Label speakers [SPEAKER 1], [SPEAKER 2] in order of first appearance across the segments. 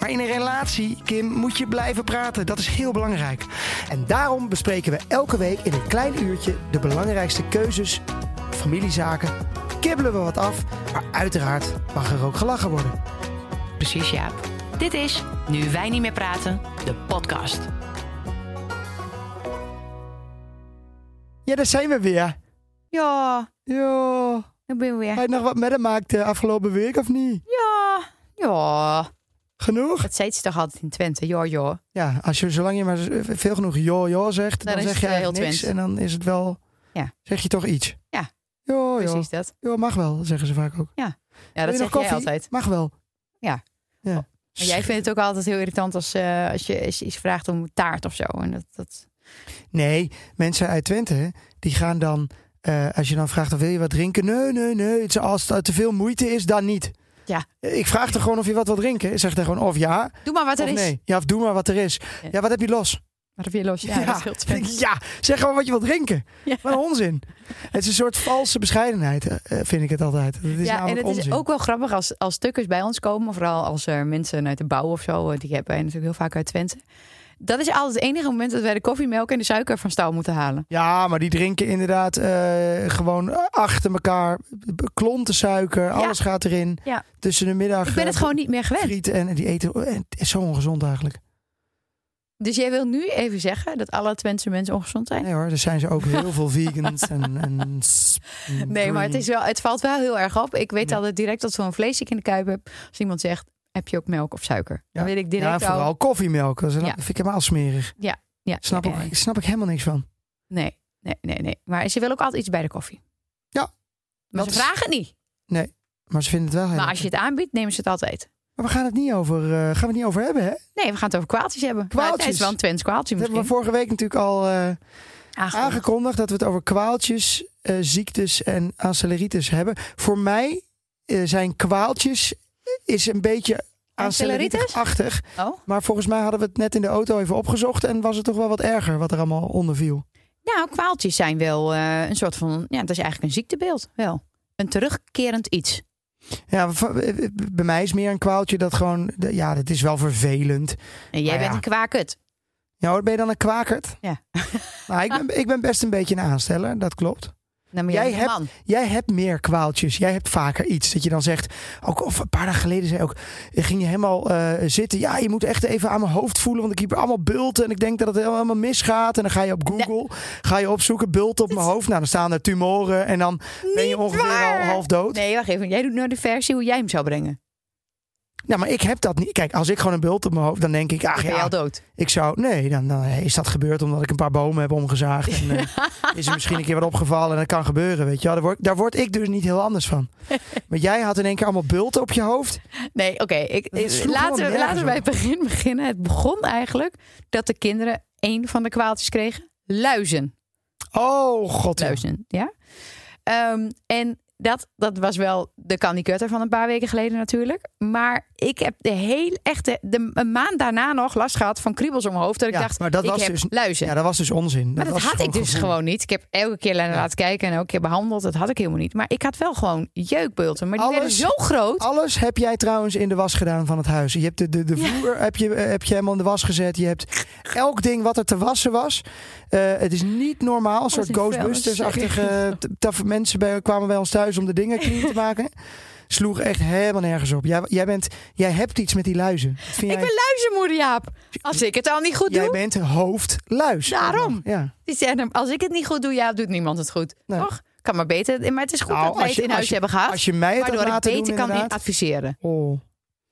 [SPEAKER 1] Maar in een relatie, Kim, moet je blijven praten. Dat is heel belangrijk. En daarom bespreken we elke week in een klein uurtje de belangrijkste keuzes, familiezaken. Kibbelen we wat af, maar uiteraard mag er ook gelachen worden.
[SPEAKER 2] Precies, Jaap. Dit is Nu wij niet meer praten, de podcast.
[SPEAKER 1] Ja, daar zijn we weer.
[SPEAKER 3] Ja,
[SPEAKER 1] Ja,
[SPEAKER 3] ik ben weer.
[SPEAKER 1] heb je nog wat met hem maakt de afgelopen week of niet?
[SPEAKER 3] Ja, ja.
[SPEAKER 1] Genoeg?
[SPEAKER 3] Dat zei ze toch altijd in Twente? Ja, ja.
[SPEAKER 1] Ja, als je, zolang je maar z- veel genoeg joh joh zegt, dan,
[SPEAKER 3] Dan is
[SPEAKER 1] zeg
[SPEAKER 3] het,
[SPEAKER 1] je
[SPEAKER 3] eh,
[SPEAKER 1] eigenlijk
[SPEAKER 3] heel
[SPEAKER 1] niks. En
[SPEAKER 3] Twents.
[SPEAKER 1] dan is het wel,
[SPEAKER 3] Ja.
[SPEAKER 1] zeg je toch iets.
[SPEAKER 3] Ja,
[SPEAKER 1] Joh, joh.
[SPEAKER 3] Precies dat.
[SPEAKER 1] Ja, mag wel, zeggen ze vaak ook.
[SPEAKER 3] Ja,
[SPEAKER 1] Wil
[SPEAKER 3] dat zeg
[SPEAKER 1] je nog
[SPEAKER 3] jij
[SPEAKER 1] koffie?
[SPEAKER 3] altijd.
[SPEAKER 1] Mag wel.
[SPEAKER 3] Ja.
[SPEAKER 1] ja.
[SPEAKER 3] Maar jij vindt het ook altijd heel irritant als, eh, als, je, als je iets vraagt om taart of zo. En dat, dat...
[SPEAKER 1] Nee, mensen uit Twente, die gaan dan, eh, als je dan vraagt of wil je wat drinken? Nee, nee, nee. Het is- Als het te veel moeite is, dan niet.
[SPEAKER 3] Ja.
[SPEAKER 1] Ik vraag er gewoon of je wat wil drinken. Zeg dan gewoon of ja
[SPEAKER 3] Doe maar wat er
[SPEAKER 1] of
[SPEAKER 3] is.
[SPEAKER 1] nee. Ja, of doe maar wat er is.
[SPEAKER 3] Ja.
[SPEAKER 1] Ja, wat heb je los?
[SPEAKER 3] Maar dat heb je los. Ja, dat is heel
[SPEAKER 1] Denk ik,
[SPEAKER 3] Twents.
[SPEAKER 1] ja, zeg gewoon wat je wilt drinken.
[SPEAKER 3] Ja.
[SPEAKER 1] Wat een onzin. Het is een soort valse bescheidenheid, eh, eh, vind ik het altijd. Het is
[SPEAKER 3] Ja, en
[SPEAKER 1] namelijk
[SPEAKER 3] het
[SPEAKER 1] onzin.
[SPEAKER 3] is ook wel grappig als, als stukkers bij ons komen. Vooral als er mensen uit de bouw of zo. eh, Die hebben wij natuurlijk heel vaak uit Twente. Dat is altijd het enige moment dat wij de koffiemelk en de suiker van stal moeten halen.
[SPEAKER 1] Ja, maar die drinken inderdaad eh, gewoon achter elkaar. B- Klonten suiker, alles gaat erin.
[SPEAKER 3] Ja.
[SPEAKER 1] Tussen de middag.
[SPEAKER 3] Ik ben
[SPEAKER 1] eh,
[SPEAKER 3] het gewoon niet meer gewend.
[SPEAKER 1] friet en en die eten. eh, Het is zo ongezond eigenlijk.
[SPEAKER 3] Dus jij wil nu even zeggen dat alle Twentse mensen ongezond zijn?
[SPEAKER 1] Nee hoor, er zijn ze ook heel veel vegans en. en s-
[SPEAKER 3] Nee, maar het, is wel, het valt wel heel erg op. Ik weet
[SPEAKER 1] Ja.
[SPEAKER 3] altijd direct dat zo'n vleesziek in de kuip heb. Als iemand zegt, heb je ook melk of suiker? Dan
[SPEAKER 1] Ja.
[SPEAKER 3] weet ik
[SPEAKER 1] Ja,
[SPEAKER 3] direct al...
[SPEAKER 1] vooral koffiemelk. Dat is-
[SPEAKER 3] Ja.
[SPEAKER 1] dat vind ik helemaal smerig.
[SPEAKER 3] Ja,
[SPEAKER 1] Snap,
[SPEAKER 3] ja,
[SPEAKER 1] ik,
[SPEAKER 3] ja.
[SPEAKER 1] snap ik helemaal niks van.
[SPEAKER 3] Nee, nee, nee, nee. Maar ze wil ook altijd iets bij de koffie.
[SPEAKER 1] Ja.
[SPEAKER 3] Maar
[SPEAKER 1] Dat
[SPEAKER 3] ze
[SPEAKER 1] is-
[SPEAKER 3] vragen het niet.
[SPEAKER 1] Maar ze vinden het wel heel
[SPEAKER 3] Maar als je het aanbiedt, nemen ze het altijd.
[SPEAKER 1] Maar we gaan het niet over, eh, gaan we het niet over hebben, hè?
[SPEAKER 3] Nee, we gaan het over kwaaltjes hebben. Maar
[SPEAKER 1] Kwaaltjes.
[SPEAKER 3] het is wel een Twents kwaaltje
[SPEAKER 1] Dat hebben we
[SPEAKER 3] misschien.
[SPEAKER 1] vorige week natuurlijk al eh,
[SPEAKER 3] Aangekondigd.
[SPEAKER 1] aangekondigd dat we het over kwaaltjes, eh, ziektes en ancellaritis hebben. Voor mij eh, zijn kwaaltjes eh, is een beetje
[SPEAKER 3] Ancellaritis?
[SPEAKER 1] ancellaritis-achtig.
[SPEAKER 3] Oh.
[SPEAKER 1] Maar volgens mij hadden we het net in de auto even opgezocht en was het toch wel wat erger wat er allemaal onder viel.
[SPEAKER 3] Nou, kwaaltjes zijn wel eh, een soort van... Ja, dat is eigenlijk een ziektebeeld. Wel. Een terugkerend iets.
[SPEAKER 1] Ja, v- eh, bij mij is meer een kwaaltje dat gewoon, de- ja, dat is wel vervelend.
[SPEAKER 3] En jij
[SPEAKER 1] Maar Nou ja.
[SPEAKER 3] bent een kwaakut.
[SPEAKER 1] Ja, hoor, ben je dan een kwakert?
[SPEAKER 3] Ja.
[SPEAKER 1] Nou, ik ben, ik ben best een beetje een aansteller, dat klopt.
[SPEAKER 3] Nou, maar
[SPEAKER 1] Jij
[SPEAKER 3] jij bent een
[SPEAKER 1] hebt-
[SPEAKER 3] man.
[SPEAKER 1] Jij hebt meer kwaaltjes. Jij hebt vaker iets dat je dan zegt. Ook of een paar dagen geleden zei ook. Ging je helemaal eh, zitten. Ja, je moet echt even aan mijn hoofd voelen. Want ik heb allemaal bulten. En ik denk dat het helemaal misgaat. En dan ga je op Google. Ga je opzoeken. Bulten op mijn hoofd. Nou, dan staan er tumoren. En dan ben je
[SPEAKER 3] Niet
[SPEAKER 1] ongeveer
[SPEAKER 3] waar.
[SPEAKER 1] al half dood.
[SPEAKER 3] Nee, wacht even. Jij doet nou de versie hoe jij hem zou brengen.
[SPEAKER 1] Nou, maar ik heb dat niet. Kijk, als ik gewoon een bult op mijn hoofd. dan denk ik. Ach
[SPEAKER 3] Dan ben je
[SPEAKER 1] ja,
[SPEAKER 3] al dood.
[SPEAKER 1] ik zou. Nee, dan, dan is dat gebeurd omdat ik een paar bomen heb omgezaagd. En eh, is er misschien een keer wat opgevallen. En dat kan gebeuren. Weet je wel. Daar word, daar word ik dus niet heel anders van. Maar jij had in één keer allemaal bulten op je hoofd.
[SPEAKER 3] Nee, oké. ik-
[SPEAKER 1] Dat
[SPEAKER 3] ik-
[SPEAKER 1] sloeg
[SPEAKER 3] Laten,
[SPEAKER 1] helemaal
[SPEAKER 3] we-
[SPEAKER 1] nergens
[SPEAKER 3] laten we bij
[SPEAKER 1] op.
[SPEAKER 3] het begin beginnen. Het begon eigenlijk dat de kinderen één van de kwaaltjes kregen. Luizen.
[SPEAKER 1] Oh, god. ja.
[SPEAKER 3] Luizen, ja. Ehm, en dat, dat was wel de kandicutter van een paar weken geleden natuurlijk. Maar ik heb de heel echte, de, een maand daarna nog last gehad van kriebels om mijn hoofd. Dat ik
[SPEAKER 1] Ja,
[SPEAKER 3] dacht,
[SPEAKER 1] maar dat
[SPEAKER 3] ik
[SPEAKER 1] was
[SPEAKER 3] heb
[SPEAKER 1] dus-
[SPEAKER 3] luizen.
[SPEAKER 1] Ja, dat was dus onzin.
[SPEAKER 3] Maar dat,
[SPEAKER 1] was
[SPEAKER 3] had ik dus
[SPEAKER 1] gevoel.
[SPEAKER 3] gewoon niet. Ik heb elke keer laten
[SPEAKER 1] Ja.
[SPEAKER 3] laten kijken en elke keer behandeld. Dat had ik helemaal niet. Maar ik had wel gewoon jeukbulten. Maar die
[SPEAKER 1] Alles-
[SPEAKER 3] werden zo groot.
[SPEAKER 1] Alles heb jij trouwens in de was gedaan van het huis. Je hebt de, de, de
[SPEAKER 3] Ja.
[SPEAKER 1] vloer heb je, eh, heb je helemaal in de was gezet. Je hebt elk ding wat er te wassen was. Eh, het is niet normaal. Een soort
[SPEAKER 3] een vuilnis,
[SPEAKER 1] Ghostbusters-achtige eh, t- taf- mensen bij, kwamen bij ons thuis om de dingen clean te maken. Sloeg echt helemaal nergens op. Jij, jij, bent, jij hebt iets met die luizen. Dat Vind
[SPEAKER 3] Ik
[SPEAKER 1] jij,
[SPEAKER 3] ben luizenmoeder, Jaap. Als ik het al niet goed
[SPEAKER 1] jij
[SPEAKER 3] doe.
[SPEAKER 1] bent hoofdluis.
[SPEAKER 3] Daarom.
[SPEAKER 1] Ja.
[SPEAKER 3] Die zeggen, als ik het niet goed doe, Jaap, doet niemand het goed.
[SPEAKER 1] Nee.
[SPEAKER 3] Toch? Kan maar beter. Maar het is goed
[SPEAKER 1] Nou,
[SPEAKER 3] dat wij
[SPEAKER 1] als
[SPEAKER 3] het in
[SPEAKER 1] je- als
[SPEAKER 3] huis
[SPEAKER 1] je-
[SPEAKER 3] hebben gehad.
[SPEAKER 1] Als je mij het had
[SPEAKER 3] waardoor ik
[SPEAKER 1] laten
[SPEAKER 3] beter
[SPEAKER 1] doen,
[SPEAKER 3] kan
[SPEAKER 1] inderdaad.
[SPEAKER 3] adviseren.
[SPEAKER 1] Oh.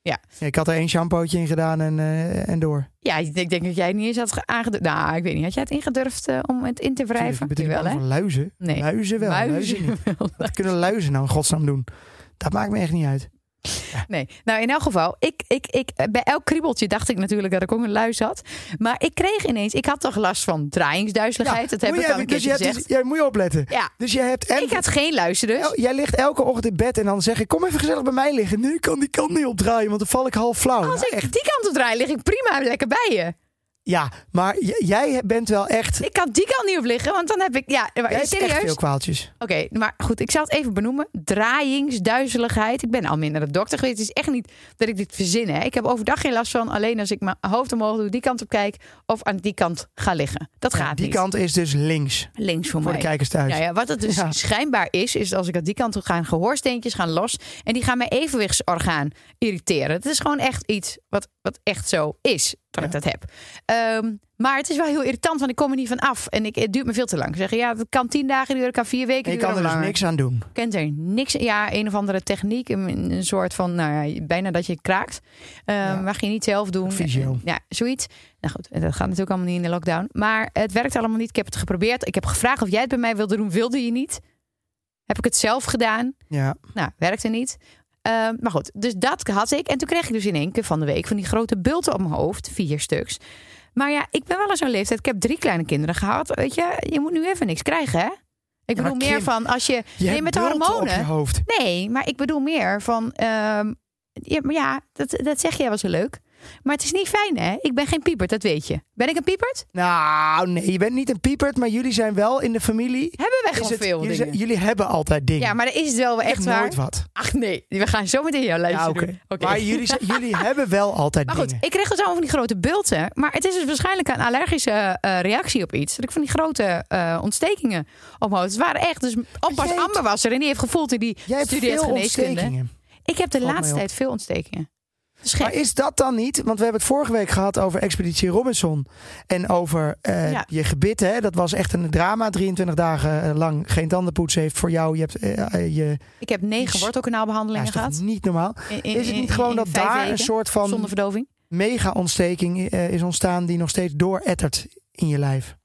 [SPEAKER 3] Ja.
[SPEAKER 1] Ik had er één shampootje in gedaan en, eh, en door.
[SPEAKER 3] Ja, ik denk, denk dat jij het niet eens had ge- aangedurfd. Nou, ik weet niet. Had jij het ingedurfd eh, om het in te
[SPEAKER 1] Tuurlijk,
[SPEAKER 3] wrijven?
[SPEAKER 1] ik bedoel,
[SPEAKER 3] Jawel, hè?
[SPEAKER 1] over luizen.
[SPEAKER 3] Nee.
[SPEAKER 1] Luizen wel. Luizen.
[SPEAKER 3] Muizen
[SPEAKER 1] niet.
[SPEAKER 3] wel.
[SPEAKER 1] Wat kunnen luizen nou in godsnaam doen? Dat maakt me echt niet uit.
[SPEAKER 3] Nee. Nou, in elk geval, ik, ik, ik, eh, bij elk kriebeltje dacht ik natuurlijk dat ik ook een luis had. Maar ik kreeg ineens, ik had toch last van draaiingsduizeligheid. dat heb
[SPEAKER 1] Moet
[SPEAKER 3] ik
[SPEAKER 1] je
[SPEAKER 3] al een
[SPEAKER 1] even- dus
[SPEAKER 3] keertje
[SPEAKER 1] je hebt
[SPEAKER 3] gezegd.
[SPEAKER 1] dus- jij moet je opletten.
[SPEAKER 3] Ja.
[SPEAKER 1] Dus je hebt en Oh,
[SPEAKER 3] Ik had geen luizen dus.
[SPEAKER 1] El- jij ligt elke ochtend in bed en dan zeg ik: Kom even gezellig bij mij liggen. Nu kan die kant niet opdraaien, want dan val ik half flauw.
[SPEAKER 3] Als
[SPEAKER 1] Nou,
[SPEAKER 3] ik
[SPEAKER 1] echt.
[SPEAKER 3] die kant op draai, lig ik prima lekker bij je.
[SPEAKER 1] Ja, maar j- jij bent wel echt.
[SPEAKER 3] Ik kan die kant niet op liggen, want dan heb ik... Ja, maar
[SPEAKER 1] jij hebt echt
[SPEAKER 3] serieus.
[SPEAKER 1] veel
[SPEAKER 3] Oké,
[SPEAKER 1] kwaaltjes.
[SPEAKER 3] maar goed, ik zal het even benoemen. Draaiingsduizeligheid. Ik ben al minder de dokter geweest. Het is echt niet dat ik dit verzin. Hè. Ik heb overdag geen last van. Alleen als ik mijn hoofd omhoog doe, die kant op kijk... of aan die kant ga liggen. Dat gaat
[SPEAKER 1] Die
[SPEAKER 3] niet.
[SPEAKER 1] kant is dus links.
[SPEAKER 3] Links voor,
[SPEAKER 1] Voor de
[SPEAKER 3] mij.
[SPEAKER 1] kijkers thuis.
[SPEAKER 3] Nou ja, wat het dus
[SPEAKER 1] Ja.
[SPEAKER 3] schijnbaar is, is als ik aan die kant toe ga, gaan gehoorsteentjes gaan los. En die gaan mijn evenwichtsorgaan irriteren. Het is gewoon echt iets wat, wat echt zo is, dat ik dat heb. Ehm, maar het is wel heel irritant, want ik kom er niet van af. En ik, het duurt me veel te lang. Ze Zeggen, ja, dat kan tien dagen duren, kan vier weken duren.
[SPEAKER 1] Ik kan er
[SPEAKER 3] of
[SPEAKER 1] dus
[SPEAKER 3] langer.
[SPEAKER 1] niks aan doen.
[SPEAKER 3] Kent er niks. Ja, een of andere techniek. Een, een soort van, nou ja, bijna dat je kraakt. Ehm,
[SPEAKER 1] Ja.
[SPEAKER 3] Mag je niet zelf doen. Eh,
[SPEAKER 1] Fysio.
[SPEAKER 3] Ja, zoiets. Nou goed, dat gaat natuurlijk allemaal niet in de lockdown. Maar het werkt allemaal niet. Ik heb het geprobeerd. Ik heb gevraagd of jij het bij mij wilde doen. Wilde je niet? Heb ik het zelf gedaan?
[SPEAKER 1] Ja.
[SPEAKER 3] Nou, werkte niet. Ehm, maar goed, dus dat had ik. En toen kreeg ik dus in één keer van de week van die grote bulten op mijn hoofd. Vier stuks. Maar ja, ik ben wel aan zo'n leeftijd. Ik heb drie kleine kinderen gehad. Weet je, je moet nu even niks krijgen, hè? Ik
[SPEAKER 1] Ja, maar
[SPEAKER 3] bedoel meer
[SPEAKER 1] Kim,
[SPEAKER 3] van als je...
[SPEAKER 1] Je
[SPEAKER 3] nee,
[SPEAKER 1] hebt
[SPEAKER 3] met de
[SPEAKER 1] bulten op je
[SPEAKER 3] hormonen.
[SPEAKER 1] hoofd.
[SPEAKER 3] Nee, maar ik bedoel meer van. ehm, ja, maar ja, dat, dat zeg jij wel zo leuk. Maar het is niet fijn, hè? Ik ben geen piepert, dat weet je. Ben ik een piepert?
[SPEAKER 1] Nou, nee, je bent niet een piepert, maar jullie zijn wel in de familie.
[SPEAKER 3] Hebben wij
[SPEAKER 1] Is
[SPEAKER 3] gewoon
[SPEAKER 1] het-
[SPEAKER 3] veel
[SPEAKER 1] jullie,
[SPEAKER 3] dingen.
[SPEAKER 1] zijn- jullie hebben altijd dingen.
[SPEAKER 3] Ja, maar dan is het wel echt
[SPEAKER 1] echt
[SPEAKER 3] waar.
[SPEAKER 1] nooit wat.
[SPEAKER 3] Ach nee, we gaan zo meteen jouw lijstje
[SPEAKER 1] Ja, oké.
[SPEAKER 3] doen. Oké.
[SPEAKER 1] Maar jullie, zijn- jullie hebben wel altijd
[SPEAKER 3] Maar goed,
[SPEAKER 1] dingen.
[SPEAKER 3] ik kreeg dus allemaal van die grote bulten. Maar het is dus waarschijnlijk een allergische eh, reactie op iets. Dat ik van die grote eh, ontstekingen op mijn hoofd. Het waren echt. Dus
[SPEAKER 1] jij
[SPEAKER 3] oppas
[SPEAKER 1] hebt-
[SPEAKER 3] Amber was er en die heeft gevoeld en die
[SPEAKER 1] Jij hebt
[SPEAKER 3] studeert
[SPEAKER 1] veel
[SPEAKER 3] geneeskunde.
[SPEAKER 1] ontstekingen.
[SPEAKER 3] Ik heb de
[SPEAKER 1] Valt mij
[SPEAKER 3] laatste
[SPEAKER 1] op.
[SPEAKER 3] tijd veel ontstekingen. Dat is gek.
[SPEAKER 1] Maar is dat dan niet? Want we hebben het vorige week gehad over Expeditie Robinson. En over eh,
[SPEAKER 3] Ja.
[SPEAKER 1] je gebit. Hè? Dat was echt een drama. 23 dagen eh, lang geen tanden poetsen heeft voor jou. Je hebt eh, eh, je.
[SPEAKER 3] Ik heb negen
[SPEAKER 1] Is- Ja,
[SPEAKER 3] wortelkanaalbehandelingen
[SPEAKER 1] is toch
[SPEAKER 3] gehad.
[SPEAKER 1] niet normaal.
[SPEAKER 3] In- in-
[SPEAKER 1] Is het
[SPEAKER 3] in-
[SPEAKER 1] niet gewoon
[SPEAKER 3] in
[SPEAKER 1] dat
[SPEAKER 3] vijf
[SPEAKER 1] daar een
[SPEAKER 3] weken,
[SPEAKER 1] soort van
[SPEAKER 3] zonder verdoving?
[SPEAKER 1] mega-ontsteking eh, is ontstaan die nog steeds doorettert in je lijf?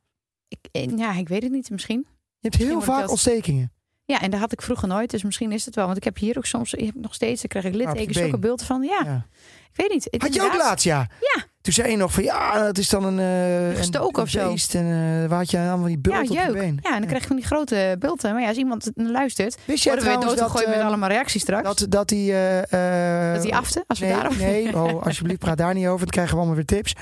[SPEAKER 3] Ik, eh, ja, ik weet het niet. Misschien.
[SPEAKER 1] Je hebt heel
[SPEAKER 3] wordt het
[SPEAKER 1] vaak
[SPEAKER 3] wel-
[SPEAKER 1] ontstekingen.
[SPEAKER 3] Ja, en dat had ik vroeger nooit. Dus misschien is het wel. Want ik heb hier ook soms ik heb nog steeds. Dan krijg ik
[SPEAKER 1] op je
[SPEAKER 3] littekens,
[SPEAKER 1] been.
[SPEAKER 3] zulke bulten van. Ja,
[SPEAKER 1] Ja.
[SPEAKER 3] ik weet niet. Het
[SPEAKER 1] Had je ook
[SPEAKER 3] inderdaad-
[SPEAKER 1] laatst, ja.
[SPEAKER 3] Ja.
[SPEAKER 1] Toen zei je nog van ja, dat is dan een. eh, een-
[SPEAKER 3] Gestoken
[SPEAKER 1] een
[SPEAKER 3] of zo.
[SPEAKER 1] beest En eh, waar had je allemaal die bult
[SPEAKER 3] Ja,
[SPEAKER 1] op je
[SPEAKER 3] jeuk.
[SPEAKER 1] been?
[SPEAKER 3] Ja, en dan krijg je van die grote bulten. Maar ja, als iemand het luistert,
[SPEAKER 1] Wist
[SPEAKER 3] worden we
[SPEAKER 1] jij
[SPEAKER 3] weer
[SPEAKER 1] trouwens dat,
[SPEAKER 3] doodgegooid met
[SPEAKER 1] eh,
[SPEAKER 3] allemaal reacties straks. Dat,
[SPEAKER 1] dat, dat die. eh, eh,
[SPEAKER 3] die afte, als we
[SPEAKER 1] nee,
[SPEAKER 3] daarop...
[SPEAKER 1] nee oh, alsjeblieft, praat daar niet over. Dan krijgen we allemaal weer tips.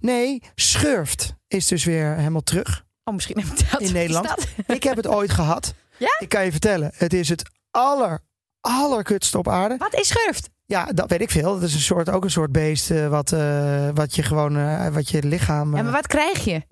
[SPEAKER 1] Nee, schurft is dus weer helemaal terug.
[SPEAKER 3] Oh, misschien heb ik dat.
[SPEAKER 1] In Nederland.
[SPEAKER 3] Is dat-
[SPEAKER 1] Ik heb het ooit gehad.
[SPEAKER 3] Ja?
[SPEAKER 1] Ik kan je vertellen, het is het aller, allerkutste op aarde.
[SPEAKER 3] Wat is schurft?
[SPEAKER 1] Ja, dat weet ik veel. Dat is een soort, ook een soort beest eh, wat, eh, wat je gewoon, eh, wat je lichaam...
[SPEAKER 3] Ja,
[SPEAKER 1] eh,
[SPEAKER 3] maar wat krijg je?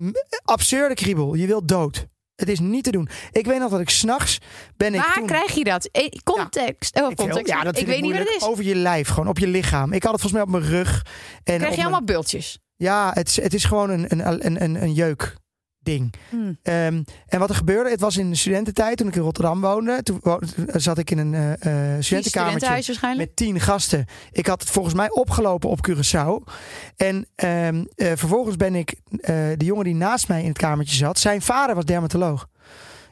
[SPEAKER 1] absurde kriebel. Je wilt dood. Het is niet te doen. Ik weet nog dat ik s'nachts ben ik
[SPEAKER 3] Waar
[SPEAKER 1] toen...
[SPEAKER 3] krijg je dat? Eh, Context. Oh,
[SPEAKER 1] Ik wil-
[SPEAKER 3] context.
[SPEAKER 1] ja, dat
[SPEAKER 3] ik
[SPEAKER 1] vind
[SPEAKER 3] weet niet wat
[SPEAKER 1] moeilijk. Oh,
[SPEAKER 3] het is.
[SPEAKER 1] Over je lijf, gewoon op je lichaam. Ik had het volgens mij op mijn rug. En
[SPEAKER 3] krijg
[SPEAKER 1] op
[SPEAKER 3] je
[SPEAKER 1] mijn-
[SPEAKER 3] allemaal bultjes?
[SPEAKER 1] Ja, het, is- het is gewoon een, een, een, een, een jeuk ding.
[SPEAKER 3] Hm.
[SPEAKER 1] Ehm, en wat er gebeurde, het was in de studententijd toen ik in Rotterdam woonde. Toen wo- toen zat ik in een eh, eh, studentenkamertje
[SPEAKER 3] Studentenhuis waarschijnlijk.
[SPEAKER 1] met tien gasten. Ik had het volgens mij opgelopen op Curaçao. En ehm, eh, vervolgens ben ik eh, de jongen die naast mij in het kamertje zat. Zijn vader was dermatoloog.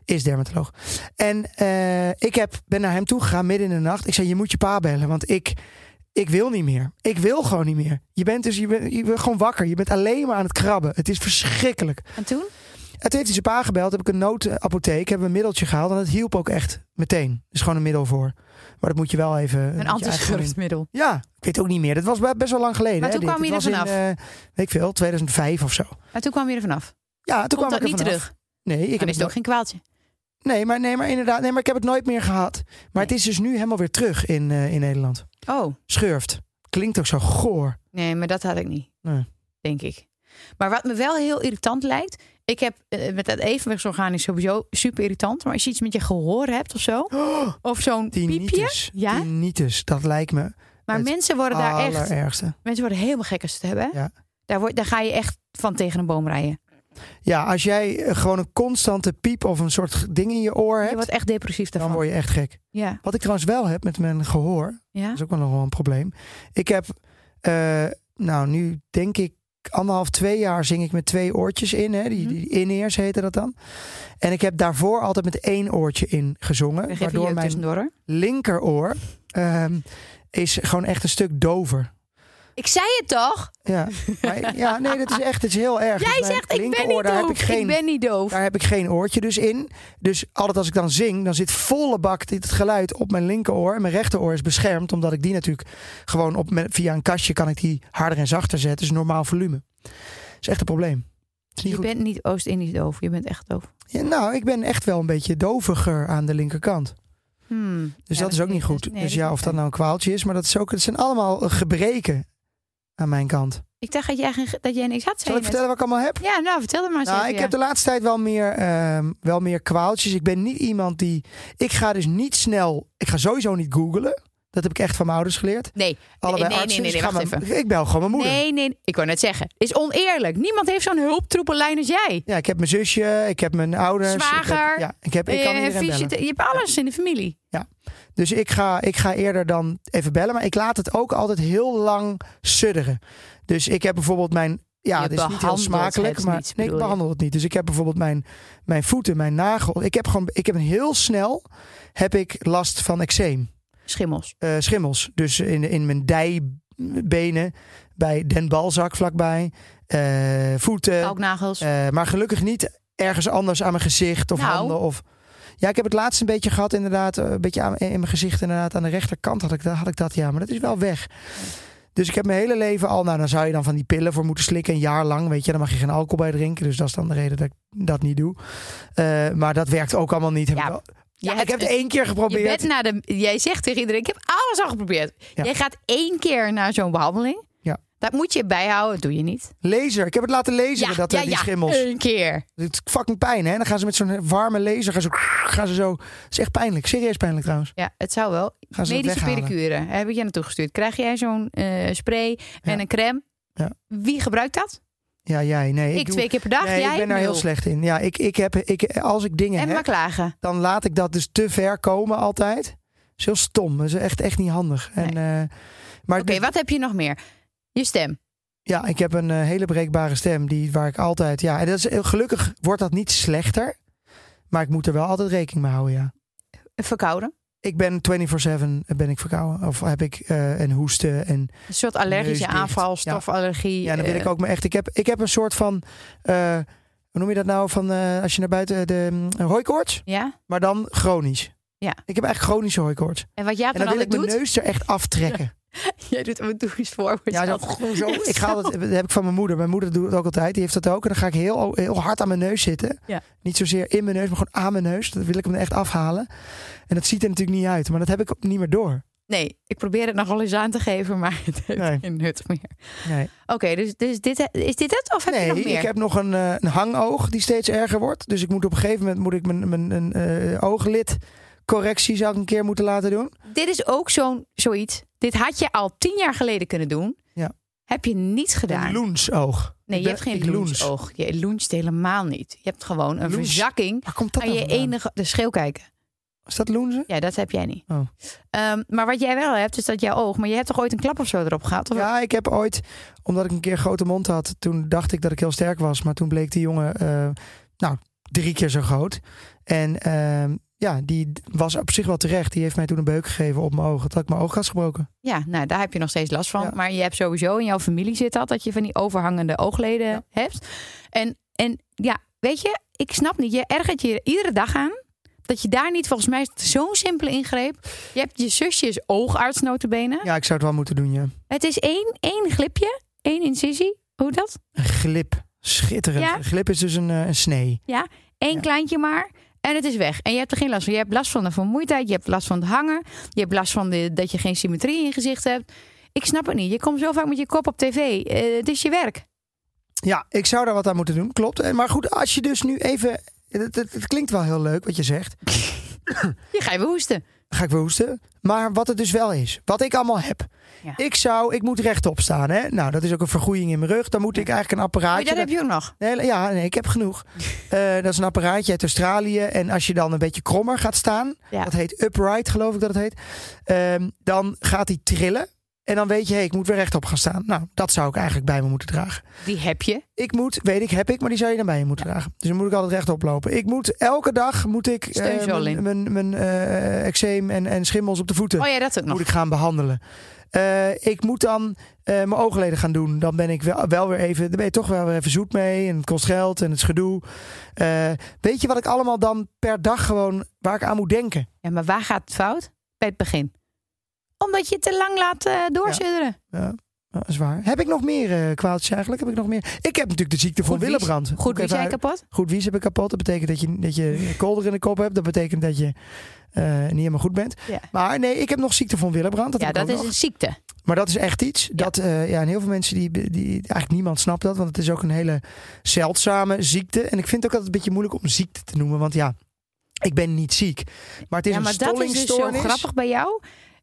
[SPEAKER 1] Is dermatoloog. En eh, ik heb, ben naar hem toe gegaan midden in de nacht. Ik zei: Je moet je pa bellen, want ik, ik wil niet meer. Ik wil gewoon niet meer. Je bent dus je bent, je bent gewoon wakker. Je bent alleen maar aan het krabben. Het is verschrikkelijk.
[SPEAKER 3] En toen?
[SPEAKER 1] En toen heeft hij zijn pa gebeld, heb ik een noodapotheek, heb een middeltje gehaald. En dat hielp ook echt meteen. Er is gewoon een middel voor. Maar dat moet je wel even. moet
[SPEAKER 3] Een
[SPEAKER 1] je eigenlijk
[SPEAKER 3] antischurftmiddel.
[SPEAKER 1] ja, ik weet ook niet meer. Dat was be- best wel lang geleden.
[SPEAKER 3] Maar
[SPEAKER 1] hè,
[SPEAKER 3] toen
[SPEAKER 1] dit.
[SPEAKER 3] kwam je
[SPEAKER 1] Dit
[SPEAKER 3] er
[SPEAKER 1] was in, eh, weet ik veel, 2005 of zo.
[SPEAKER 3] Maar toen kwam je er vanaf.
[SPEAKER 1] Ja,
[SPEAKER 3] Komt
[SPEAKER 1] toen kwam
[SPEAKER 3] dat
[SPEAKER 1] Oh, ik er
[SPEAKER 3] niet
[SPEAKER 1] vanaf.
[SPEAKER 3] terug? Oh,
[SPEAKER 1] Nee, ik
[SPEAKER 3] Dan
[SPEAKER 1] heb
[SPEAKER 3] is
[SPEAKER 1] het
[SPEAKER 3] het ook geen kwaaltje.
[SPEAKER 1] nooit- nee, maar, nee, maar inderdaad, nee, maar ik heb het nooit meer gehad. Maar het
[SPEAKER 3] Nee.
[SPEAKER 1] is dus nu helemaal weer terug in, eh, in Nederland.
[SPEAKER 3] Oh,
[SPEAKER 1] Schurft. Klinkt ook zo goor.
[SPEAKER 3] nee, maar dat had ik niet.
[SPEAKER 1] Nee.
[SPEAKER 3] Denk ik. Maar wat me wel heel irritant lijkt... Ik heb eh, met dat evenwichtsorgaan is sowieso super irritant. Maar als je iets met je gehoor hebt of zo...
[SPEAKER 1] Oh,
[SPEAKER 3] Of zo'n piepje.
[SPEAKER 1] tinnitus.
[SPEAKER 3] Ja?
[SPEAKER 1] Tinnitus. Dat lijkt me
[SPEAKER 3] Maar
[SPEAKER 1] Het
[SPEAKER 3] mensen worden daar echt...
[SPEAKER 1] allerergste.
[SPEAKER 3] Mensen worden helemaal gek als ze het hebben. hè?
[SPEAKER 1] Ja.
[SPEAKER 3] Daar, word, daar ga je echt van tegen een boom rijden.
[SPEAKER 1] Ja, als jij eh, gewoon een constante piep of een soort ding in je oor
[SPEAKER 3] Je
[SPEAKER 1] hebt,
[SPEAKER 3] wordt echt depressief
[SPEAKER 1] dan
[SPEAKER 3] daarvan.
[SPEAKER 1] word je echt gek.
[SPEAKER 3] Ja.
[SPEAKER 1] Wat ik trouwens wel heb met mijn gehoor,
[SPEAKER 3] ja.
[SPEAKER 1] Dat is ook wel nog wel een probleem. Ik heb, eh, nou nu denk ik anderhalf, twee jaar zing ik met twee oortjes in. Hè? Die,
[SPEAKER 3] Mhm.
[SPEAKER 1] die in-ears heette dat dan. En ik heb daarvoor altijd met één oortje in gezongen.
[SPEAKER 3] We geven
[SPEAKER 1] Waardoor
[SPEAKER 3] je dus- ook
[SPEAKER 1] mijn
[SPEAKER 3] tussendoor. hoor.
[SPEAKER 1] linkeroor ehm, is gewoon echt een stuk dover.
[SPEAKER 3] Ik zei het toch?
[SPEAKER 1] Ja, maar, ja nee, dat is echt het is heel erg. Dus
[SPEAKER 3] Jij
[SPEAKER 1] mijn
[SPEAKER 3] zegt ik ben
[SPEAKER 1] linkeroor,
[SPEAKER 3] niet
[SPEAKER 1] daar heb
[SPEAKER 3] doof.
[SPEAKER 1] ik geen,
[SPEAKER 3] ben niet doof.
[SPEAKER 1] Daar heb ik geen oortje dus in. Dus altijd als ik dan zing, dan zit volle bak dit geluid op mijn linkeroor. En mijn rechteroor is beschermd, omdat ik die natuurlijk gewoon op, mijn- via een kastje kan ik die harder en zachter zetten. Dus normaal volume. is echt een probleem. Is niet
[SPEAKER 3] Je
[SPEAKER 1] goed.
[SPEAKER 3] bent niet Oost-Indisch doof. Je bent echt doof.
[SPEAKER 1] Ja, nou, ik ben echt wel een beetje doviger aan de linkerkant.
[SPEAKER 3] Hmm.
[SPEAKER 1] Dus
[SPEAKER 3] Ja,
[SPEAKER 1] dat is ook niet goed.
[SPEAKER 3] nee, dat
[SPEAKER 1] dus
[SPEAKER 3] is
[SPEAKER 1] ja,
[SPEAKER 3] niet
[SPEAKER 1] of dat
[SPEAKER 3] fijn.
[SPEAKER 1] nou een kwaaltje is, maar dat is ook, het zijn allemaal eh, gebreken aan mijn kant.
[SPEAKER 3] Ik dacht dat jij, geen- dat jij niks had. zei je
[SPEAKER 1] Zal ik
[SPEAKER 3] net.
[SPEAKER 1] vertellen wat ik allemaal heb?
[SPEAKER 3] Ja, nou, vertel het maar eens
[SPEAKER 1] Nou,
[SPEAKER 3] even,
[SPEAKER 1] ik
[SPEAKER 3] ja.
[SPEAKER 1] heb de laatste tijd wel meer, ehm, wel meer kwaaltjes. Ik ben niet iemand die. Ik ga dus niet snel. Ik ga sowieso niet googlen. Dat heb ik echt van mijn ouders geleerd.
[SPEAKER 3] Nee,
[SPEAKER 1] Allebei
[SPEAKER 3] nee, nee,
[SPEAKER 1] artsen.
[SPEAKER 3] nee,
[SPEAKER 1] dus
[SPEAKER 3] nee,
[SPEAKER 1] ik, ga
[SPEAKER 3] wacht
[SPEAKER 1] mijn- ik bel gewoon mijn moeder.
[SPEAKER 3] nee, nee. Ik wou net zeggen. Is oneerlijk. Niemand heeft zo'n hulptroepenlijn als jij.
[SPEAKER 1] Ja, ik heb mijn zusje, ik heb mijn ouders. Ik
[SPEAKER 3] Zwager.
[SPEAKER 1] heb, ja, ik heb. Ik kan
[SPEAKER 3] Eh,
[SPEAKER 1] iedereen
[SPEAKER 3] fysiothera-
[SPEAKER 1] bellen.
[SPEAKER 3] je hebt alles in de familie.
[SPEAKER 1] Dus ik ga, ik ga eerder dan even bellen. Maar ik laat het ook altijd heel lang sudderen. Dus ik heb bijvoorbeeld mijn. Ja,
[SPEAKER 3] Je
[SPEAKER 1] het is niet heel
[SPEAKER 3] behandelt
[SPEAKER 1] smakelijk,
[SPEAKER 3] het
[SPEAKER 1] maar
[SPEAKER 3] niet,
[SPEAKER 1] nee, ik
[SPEAKER 3] bedoel je?
[SPEAKER 1] behandel het niet. Dus ik heb bijvoorbeeld mijn, mijn voeten, mijn nagel. Ik heb gewoon, ik heb een heel snel heb ik last van eczeem,
[SPEAKER 3] Schimmels.
[SPEAKER 1] eh, schimmels. Dus in, in mijn dijbenen, bij Den Balzak vlakbij, eh, voeten.
[SPEAKER 3] Kalknagels.
[SPEAKER 1] Eh, maar gelukkig niet ergens anders aan mijn gezicht of
[SPEAKER 3] Nou.
[SPEAKER 1] handen. Of... Ja, ik heb het laatst een beetje gehad inderdaad. eh, Een beetje aan, in mijn gezicht inderdaad. Aan de rechterkant had ik, dat- had ik dat, ja. Maar dat is wel weg. Dus ik heb mijn hele leven al... Nou, dan zou je dan van die pillen voor moeten slikken een jaar lang. Weet je, dan mag je geen alcohol bij drinken. Dus dat is dan de reden dat ik dat niet doe. Eh, maar dat werkt ook allemaal niet. Heb
[SPEAKER 3] Ja,
[SPEAKER 1] ik wel-
[SPEAKER 3] je
[SPEAKER 1] ja, ik
[SPEAKER 3] hebt-
[SPEAKER 1] heb het één keer
[SPEAKER 3] je
[SPEAKER 1] geprobeerd.
[SPEAKER 3] bent naar de, jij zegt tegen iedereen, ik heb alles al geprobeerd.
[SPEAKER 1] Ja.
[SPEAKER 3] Jij gaat één keer naar zo'n behandeling.
[SPEAKER 1] Ja.
[SPEAKER 3] Dat moet je bijhouden, dat doe je niet.
[SPEAKER 1] Laser. Ik heb het laten lezen dat eh, die schimmels...
[SPEAKER 3] Een keer.
[SPEAKER 1] Het is fucking pijn, hè? Dan gaan ze met zo'n warme laser... Gaan ze, gaan ze zo... Het is echt pijnlijk. Serieus pijnlijk trouwens.
[SPEAKER 3] Ja, het zou wel.
[SPEAKER 1] Gaan ze het
[SPEAKER 3] Medische
[SPEAKER 1] weghalen.
[SPEAKER 3] pedicure heb ik je naartoe gestuurd. Krijg jij zo'n eh, spray en
[SPEAKER 1] Ja.
[SPEAKER 3] een crème?
[SPEAKER 1] Ja.
[SPEAKER 3] Wie gebruikt dat?
[SPEAKER 1] Ja, jij. Nee,
[SPEAKER 3] Ik,
[SPEAKER 1] ik, doe-
[SPEAKER 3] twee keer per dag.
[SPEAKER 1] nee,
[SPEAKER 3] jij
[SPEAKER 1] ik ben daar heel
[SPEAKER 3] nul.
[SPEAKER 1] slecht in. Ja, ik, ik heb, ik, als ik dingen
[SPEAKER 3] En
[SPEAKER 1] heb,
[SPEAKER 3] maar klagen.
[SPEAKER 1] dan laat ik dat dus te ver komen altijd. Dat is heel stom. Dat is echt, echt niet handig. En, eh, maar
[SPEAKER 3] Oké, wat heb je nog meer? Je stem.
[SPEAKER 1] ja, ik heb een eh, hele breekbare stem die, waar ik altijd... Ja, en dat is, heel- gelukkig wordt dat niet slechter. Maar ik moet er wel altijd rekening mee houden, ja.
[SPEAKER 3] Verkouden.
[SPEAKER 1] Ik ben 24-7 ben ik verkouden. Of heb ik eh, een hoesten en
[SPEAKER 3] Een soort allergische
[SPEAKER 1] Neusdicht.
[SPEAKER 3] aanval, stofallergie.
[SPEAKER 1] Ja, dan wil
[SPEAKER 3] eh,
[SPEAKER 1] ik ook me echt. Ik heb, ik heb een soort van. eh, hoe noem je dat nou? Van eh, als je naar buiten. De mm, hooikoorts,
[SPEAKER 3] Ja?
[SPEAKER 1] maar dan chronisch.
[SPEAKER 3] Ja.
[SPEAKER 1] Ik heb eigenlijk chronische hooikoorts.
[SPEAKER 3] En wat Jaap
[SPEAKER 1] en
[SPEAKER 3] dan
[SPEAKER 1] dan wil ik
[SPEAKER 3] altijd
[SPEAKER 1] mijn
[SPEAKER 3] doet?
[SPEAKER 1] neus er echt aftrekken.
[SPEAKER 3] Jij doet hem doe eens voor.
[SPEAKER 1] ja,
[SPEAKER 3] mezelf.
[SPEAKER 1] dat, zo. Ik ga dat, dat heb ik van mijn moeder. Mijn moeder doet het ook altijd. Die heeft dat ook. En dan ga ik heel, heel hard aan mijn neus zitten.
[SPEAKER 3] Ja.
[SPEAKER 1] Niet zozeer in mijn neus, maar gewoon aan mijn neus. Dat wil ik hem er echt afhalen. En dat ziet er natuurlijk niet uit. Maar dat heb ik ook niet meer door.
[SPEAKER 3] Nee, ik probeer het nog wel eens aan te geven, maar het heeft
[SPEAKER 1] Nee.
[SPEAKER 3] geen nut meer.
[SPEAKER 1] Nee,
[SPEAKER 3] Oké, dus, dus dit, is dit het of heb je
[SPEAKER 1] nee
[SPEAKER 3] nog meer?
[SPEAKER 1] ik heb nog een, eh, een hangoog die steeds erger wordt. Dus ik moet op een gegeven moment moet ik mijn, mijn, een, eh, ooglidcorrectie zou ik een keer moeten laten doen.
[SPEAKER 3] Dit is ook zo'n zoiets. Dit had je al tien jaar geleden kunnen doen.
[SPEAKER 1] Ja.
[SPEAKER 3] Heb je niet gedaan.
[SPEAKER 1] Een loensoog.
[SPEAKER 3] nee,
[SPEAKER 1] Ik
[SPEAKER 3] je
[SPEAKER 1] ben-
[SPEAKER 3] hebt geen
[SPEAKER 1] ik loens.
[SPEAKER 3] loensoog. Je loenst helemaal niet. Je hebt gewoon een
[SPEAKER 1] Loens.
[SPEAKER 3] verzakking
[SPEAKER 1] Waar komt dat
[SPEAKER 3] aan
[SPEAKER 1] nou
[SPEAKER 3] je
[SPEAKER 1] vandaan?
[SPEAKER 3] enige... De schreeuw kijken.
[SPEAKER 1] Is dat loenzen?
[SPEAKER 3] Ja, dat heb jij niet.
[SPEAKER 1] Oh.
[SPEAKER 3] Ehm, maar wat jij wel hebt, is dat jouw oog... Maar je hebt toch ooit een klap of zo erop gehad? Of
[SPEAKER 1] Ja, ik heb ooit, omdat ik een keer een grote mond had, toen dacht ik dat ik heel sterk was. Maar toen bleek die jongen, eh, nou, drie keer zo groot. En ehm, ja, die d- was op zich wel terecht. Die heeft mij toen een beuk gegeven op mijn ogen. Dat ik mijn oog had gebroken.
[SPEAKER 3] Ja, nou, daar heb je nog steeds last van.
[SPEAKER 1] Ja.
[SPEAKER 3] Maar je hebt sowieso in jouw familie zit dat, dat je van die overhangende oogleden
[SPEAKER 1] Ja.
[SPEAKER 3] hebt. En, en ja, weet je, ik snap niet. Je ergert je iedere dag aan. Dat je daar niet, volgens mij is het zo'n simpele ingreep. Je hebt je zusje is oogarts notabene.
[SPEAKER 1] Ja, ik zou het wel moeten doen, ja.
[SPEAKER 3] Het is één, één glipje, één incisie. Hoe dat?
[SPEAKER 1] Een glip. Schitterend.
[SPEAKER 3] Ja.
[SPEAKER 1] Een glip is dus een, eh, een snee.
[SPEAKER 3] Eén
[SPEAKER 1] Ja.
[SPEAKER 3] kleintje maar. En het is weg. En je hebt er geen last van. Je hebt last van de vermoeidheid. Je hebt last van het hangen. Je hebt last van de, dat je geen symmetrie in je gezicht hebt. Ik snap het niet. Je komt zo vaak met je kop op tv. Eh, het is je werk.
[SPEAKER 1] Ja, ik zou daar wat aan moeten doen, klopt. Eh, Maar goed, als je dus nu even... Het, het- het klinkt wel heel leuk wat je zegt.
[SPEAKER 3] Je gaat even hoesten.
[SPEAKER 1] Dan ga ik weer hoesten. Maar wat het dus wel is, wat ik allemaal heb.
[SPEAKER 3] Ja.
[SPEAKER 1] Ik zou, ik moet rechtop staan. Hè? Nou, dat is ook een vergroeiing in mijn rug. Dan moet ik eigenlijk een apparaatje...
[SPEAKER 3] Maar dat Oh, heb je ook nog.
[SPEAKER 1] Nee, ja, nee, ik heb genoeg. Eh, dat is een apparaatje uit Australië. En als je dan een beetje krommer gaat staan,
[SPEAKER 3] Ja.
[SPEAKER 1] dat heet upright, geloof ik dat het heet. ehm, dan gaat hij trillen. En dan weet je, hey, ik moet weer rechtop gaan staan. Nou, dat zou ik eigenlijk bij me moeten dragen.
[SPEAKER 3] Die heb je.
[SPEAKER 1] Ik moet, weet ik, heb ik, maar die zou je dan bij je moeten dragen. Dus dan moet ik altijd rechtop lopen. Ik moet elke dag moet ik eh,
[SPEAKER 3] Steunzool in.
[SPEAKER 1] mijn, mijn, mijn eh, eczeem en, en schimmels op de voeten
[SPEAKER 3] Oh ja, dat ook nog.
[SPEAKER 1] moet ik gaan behandelen. Eh, ik moet dan eh, mijn oogleden gaan doen. Dan ben ik wel, wel weer even, dan ben je toch wel weer even zoet mee. En het kost geld en het is gedoe. Eh, weet je wat ik allemaal dan per dag gewoon, waar ik aan moet denken?
[SPEAKER 3] Ja, maar waar gaat het fout? Bij het begin. Omdat je het te lang laat eh doorzudderen.
[SPEAKER 1] Ja, dat is waar. Heb ik nog meer eh kwaaltjes eigenlijk? Heb ik nog meer? Ik heb natuurlijk de ziekte van
[SPEAKER 3] Goed wies.
[SPEAKER 1] Willebrand.
[SPEAKER 3] Goed, wie
[SPEAKER 1] Even
[SPEAKER 3] jij
[SPEAKER 1] uit-
[SPEAKER 3] kapot?
[SPEAKER 1] Goed wies heb ik kapot. Dat betekent dat je, dat je kolder in de kop hebt. Dat betekent dat je eh, niet helemaal goed bent.
[SPEAKER 3] Ja.
[SPEAKER 1] Maar nee, ik heb nog ziekte van Willebrand. Dat
[SPEAKER 3] Ja,
[SPEAKER 1] heb ik
[SPEAKER 3] dat
[SPEAKER 1] ook
[SPEAKER 3] is
[SPEAKER 1] nog.
[SPEAKER 3] een ziekte.
[SPEAKER 1] Maar dat is echt iets. Dat, eh, ja, en heel veel mensen, die, die, eigenlijk niemand snapt dat. Want het is ook een hele zeldzame ziekte. En ik vind het ook altijd een beetje moeilijk om ziekte te noemen. Want ja, ik ben niet ziek. Maar het is
[SPEAKER 3] Ja, maar
[SPEAKER 1] een
[SPEAKER 3] dat is dus zo
[SPEAKER 1] stollingstoornis.
[SPEAKER 3] grappig bij jou.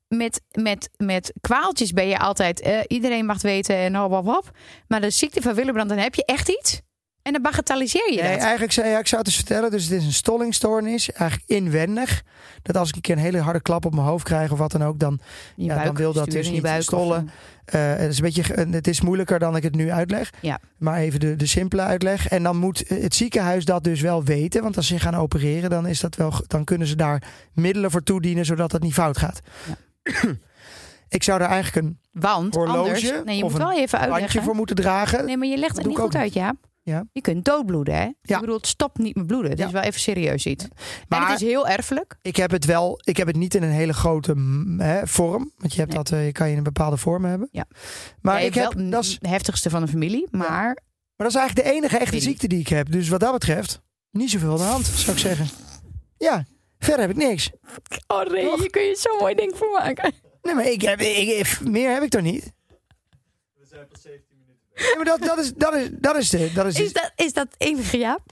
[SPEAKER 3] Met, met, met kwaaltjes ben je altijd... eh, iedereen mag het weten en hop, hop, hop. Maar de ziekte van Willebrand, dan heb je echt iets. En dan bagatelliseer je
[SPEAKER 1] Nee,
[SPEAKER 3] dat.
[SPEAKER 1] eigenlijk zou ja, ik zou het eens vertellen. Dus het is een stollingstoornis. Eigenlijk inwendig. Dat als ik een keer een hele harde klap op mijn hoofd krijg of wat dan ook. Dan
[SPEAKER 3] Je
[SPEAKER 1] ja, dan
[SPEAKER 3] buik
[SPEAKER 1] wil dat
[SPEAKER 3] sturen,
[SPEAKER 1] dus
[SPEAKER 3] je
[SPEAKER 1] niet
[SPEAKER 3] buik of
[SPEAKER 1] stollen.
[SPEAKER 3] een-
[SPEAKER 1] Eh, het, is een beetje, ge- het is moeilijker dan ik het nu uitleg.
[SPEAKER 3] Ja.
[SPEAKER 1] Maar even de, de simpele uitleg. En dan moet het ziekenhuis dat dus wel weten. Want als ze gaan opereren, dan, is dat wel, ge- dan kunnen ze daar middelen voor toedienen. zodat dat niet fout gaat. ik zou daar eigenlijk een
[SPEAKER 3] Want
[SPEAKER 1] Horloge
[SPEAKER 3] anders... Nee, je
[SPEAKER 1] of
[SPEAKER 3] moet
[SPEAKER 1] een
[SPEAKER 3] wel even
[SPEAKER 1] bandje
[SPEAKER 3] uitleggen.
[SPEAKER 1] voor moeten dragen.
[SPEAKER 3] Nee, maar je legt het
[SPEAKER 1] Dat doe
[SPEAKER 3] niet
[SPEAKER 1] ik ook
[SPEAKER 3] goed uit, Jaap.
[SPEAKER 1] Ja.
[SPEAKER 3] Je kunt doodbloeden, hè?
[SPEAKER 1] Ja.
[SPEAKER 3] Ik bedoel, het stopt niet met bloeden. Het
[SPEAKER 1] Ja.
[SPEAKER 3] is wel even serieus iets.
[SPEAKER 1] Maar-
[SPEAKER 3] en het is heel erfelijk.
[SPEAKER 1] Ik heb het wel, ik heb het niet in een hele grote mm, hè, vorm. Want je, hebt
[SPEAKER 3] Nee.
[SPEAKER 1] dat, eh, je kan je in een bepaalde vorm hebben.
[SPEAKER 3] Ja.
[SPEAKER 1] Maar
[SPEAKER 3] Jij
[SPEAKER 1] ik heb,
[SPEAKER 3] hebt wel
[SPEAKER 1] dat is,
[SPEAKER 3] de heftigste van de familie, maar
[SPEAKER 1] maar dat is eigenlijk de enige echte
[SPEAKER 3] Weet
[SPEAKER 1] ziekte die ik heb. Dus wat dat betreft, niet zoveel aan de hand, zou ik zeggen. Ja, verder heb ik niks.
[SPEAKER 3] Oh nee,
[SPEAKER 1] Toch?
[SPEAKER 3] kun je zo'n mooi ding voor maken.
[SPEAKER 1] Nee, maar ik heb, ik, ik- meer heb ik toch niet? We zijn pas 17 minuten. Nee, maar dat, dat is, dat is, dat is de, dat is de-
[SPEAKER 3] Is dat, is dat enige Jaap?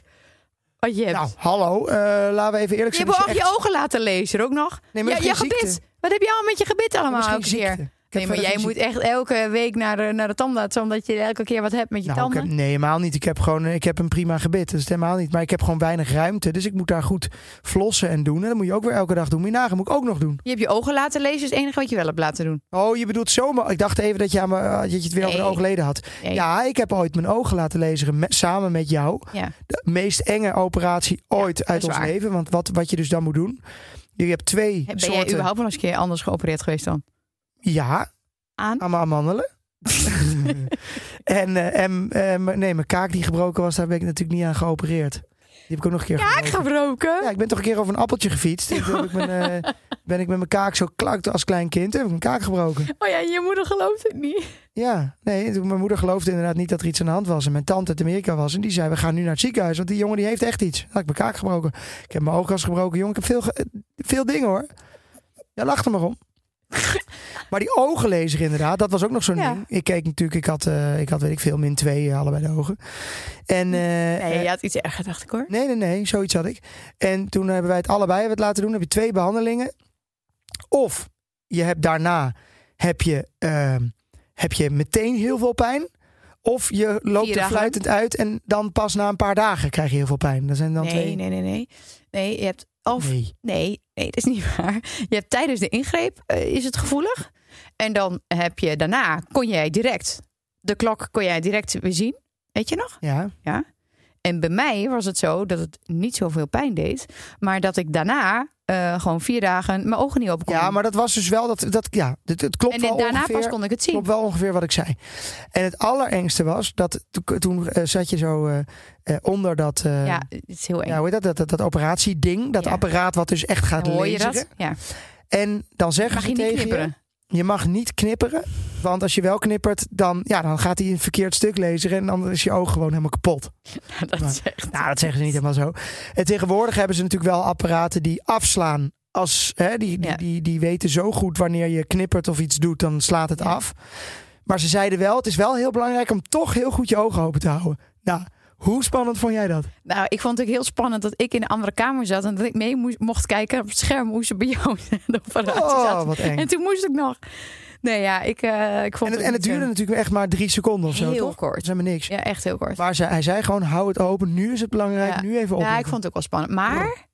[SPEAKER 3] Wat je hebt.
[SPEAKER 1] Dus Nou, hallo, eh, laten we even eerlijk
[SPEAKER 3] je
[SPEAKER 1] zijn.
[SPEAKER 3] hebt ook
[SPEAKER 1] dat
[SPEAKER 3] je
[SPEAKER 1] echt-
[SPEAKER 3] ogen laten lezen ook nog.
[SPEAKER 1] Nee, maar
[SPEAKER 3] ja,
[SPEAKER 1] dat
[SPEAKER 3] je
[SPEAKER 1] is geen
[SPEAKER 3] gebit.
[SPEAKER 1] ziekte.
[SPEAKER 3] Wat heb je al met je gebit allemaal
[SPEAKER 1] Dat
[SPEAKER 3] elke
[SPEAKER 1] is geen
[SPEAKER 3] keer?
[SPEAKER 1] ziekte. Ik heb
[SPEAKER 3] Nee, maar
[SPEAKER 1] verder
[SPEAKER 3] jij
[SPEAKER 1] geen
[SPEAKER 3] moet
[SPEAKER 1] ziekte.
[SPEAKER 3] echt elke week naar de, naar de tandarts, omdat je elke keer wat hebt met je
[SPEAKER 1] Nou, ik
[SPEAKER 3] tanden.
[SPEAKER 1] heb, nee, helemaal niet. Ik heb gewoon eh, ik heb een prima gebit. Dat is het helemaal niet. Maar ik heb gewoon weinig ruimte. Dus ik moet daar goed flossen en doen. En dat moet je ook weer elke dag doen. Mijn nagel moet ik ook nog doen.
[SPEAKER 3] Je hebt je ogen laten lezen, is het enige wat je wel hebt laten doen.
[SPEAKER 1] Oh, je bedoelt zomaar. Ik dacht even dat je, aan me, dat je het weer over de
[SPEAKER 3] Nee.
[SPEAKER 1] oogleden had.
[SPEAKER 3] Nee.
[SPEAKER 1] Ja, ik heb ooit mijn ogen laten lezen samen met jou.
[SPEAKER 3] Ja.
[SPEAKER 1] De meest enge operatie ooit uit
[SPEAKER 3] is
[SPEAKER 1] ons
[SPEAKER 3] waar.
[SPEAKER 1] leven. Want wat, wat je dus dan moet doen. Je hebt twee
[SPEAKER 3] Ben
[SPEAKER 1] soorten.
[SPEAKER 3] jij überhaupt wel eens een keer anders geopereerd geweest dan?
[SPEAKER 1] Ja,
[SPEAKER 3] Aan?
[SPEAKER 1] aan mijn amandelen. en eh, en eh, mijn- nee, mijn kaak die gebroken was, daar ben ik natuurlijk niet aan geopereerd. Die heb ik ook nog een keer
[SPEAKER 3] Kaak
[SPEAKER 1] gebroken.
[SPEAKER 3] gebroken?
[SPEAKER 1] Ja, ik ben toch een keer over een appeltje gefietst. En toen heb ik mijn, eh, ben ik met mijn kaak zo klakt als klein kind. Heb ik mijn kaak gebroken.
[SPEAKER 3] Oh ja, je moeder gelooft het niet.
[SPEAKER 1] Ja, nee. toen- Mijn moeder geloofde inderdaad niet dat er iets aan de hand was. En mijn tante uit Amerika was. En die zei, we gaan nu naar het ziekenhuis. Want die jongen die heeft echt iets. Had ik mijn kaak gebroken. Ik heb mijn oogkas gebroken. Jongen, ik heb veel, ge- eh, veel dingen hoor. Ja, lach er maar om. Maar die ogenlezer inderdaad, dat was ook nog zo'n
[SPEAKER 3] Ja.
[SPEAKER 1] ding. Ik keek natuurlijk, ik had, eh, ik had weet ik veel, min twee eh, allebei de ogen. En, eh,
[SPEAKER 3] Nee, je had iets erger, dacht ik hoor.
[SPEAKER 1] Nee, nee, nee, zoiets had ik. En toen hebben wij het allebei hebben het laten doen. Dan heb je twee behandelingen. Of je hebt daarna heb je, ehm, heb je meteen heel veel pijn. Of je loopt er
[SPEAKER 3] dagen.
[SPEAKER 1] fluitend uit en dan pas na een paar dagen krijg je heel veel pijn. Dat zijn dan
[SPEAKER 3] Nee,
[SPEAKER 1] twee.
[SPEAKER 3] nee, nee, nee. Nee, je hebt. Of nee,
[SPEAKER 1] Nee.
[SPEAKER 3] nee, dat is niet waar. Je hebt tijdens de ingreep eh, is het gevoelig. En dan heb je daarna kon jij direct de klok kon jij direct weer zien. Weet je nog?
[SPEAKER 1] Ja.
[SPEAKER 3] En bij mij was het zo dat het niet zoveel pijn deed, maar dat ik daarna eh, gewoon vier dagen mijn ogen niet open kon.
[SPEAKER 1] ja,
[SPEAKER 3] doen.
[SPEAKER 1] maar dat was dus wel dat. dat ja, het, het klopt
[SPEAKER 3] en
[SPEAKER 1] wel
[SPEAKER 3] daarna
[SPEAKER 1] ongeveer.
[SPEAKER 3] pas kon ik het zien.
[SPEAKER 1] Klopt wel ongeveer wat ik zei. En het allerengste was dat to- toen eh, zat je zo eh, eh, onder dat. eh,
[SPEAKER 3] ja, het is heel eng.
[SPEAKER 1] ja, hoe heet dat? Dat, dat, dat operatieding, dat
[SPEAKER 3] Ja.
[SPEAKER 1] apparaat wat dus echt gaat
[SPEAKER 3] Hoor je
[SPEAKER 1] lezen.
[SPEAKER 3] dat? Ja.
[SPEAKER 1] En dan zeggen
[SPEAKER 3] Mag
[SPEAKER 1] ze
[SPEAKER 3] je niet
[SPEAKER 1] tegen
[SPEAKER 3] knipperen?
[SPEAKER 1] je, je mag niet knipperen. Want als je wel knippert, dan, ja, dan gaat hij een verkeerd stuk lezen. En dan is je oog gewoon helemaal kapot.
[SPEAKER 3] dat is echt.
[SPEAKER 1] Nou, dat zeggen ze niet helemaal zo. En tegenwoordig hebben ze natuurlijk wel apparaten die afslaan. Als, hè, die, die,
[SPEAKER 3] Ja.
[SPEAKER 1] die, die weten zo goed wanneer je knippert of iets doet, dan slaat het
[SPEAKER 3] Ja.
[SPEAKER 1] af. Maar ze zeiden wel, het is wel heel belangrijk om toch heel goed je ogen open te houden. Nou, hoe spannend vond jij dat?
[SPEAKER 3] Nou, ik vond het ook heel spannend dat ik in een andere kamer zat en dat ik mee moest, mocht kijken op het scherm hoe ze bij jou in de operatie
[SPEAKER 1] Oh,
[SPEAKER 3] zat.
[SPEAKER 1] wat eng.
[SPEAKER 3] En toen moest ik nog. Nee, ja, ik, eh, ik vond
[SPEAKER 1] En het, en het duurde
[SPEAKER 3] niet,
[SPEAKER 1] natuurlijk echt maar drie seconden of zo,
[SPEAKER 3] Heel
[SPEAKER 1] toch?
[SPEAKER 3] kort.
[SPEAKER 1] Dat is helemaal niks.
[SPEAKER 3] eh, Ja, echt heel kort.
[SPEAKER 1] Maar ze, hij zei gewoon, hou het open. Nu is het belangrijk.
[SPEAKER 3] Ja.
[SPEAKER 1] Nu even op.
[SPEAKER 3] ja, ik vond het ook wel spannend. Maar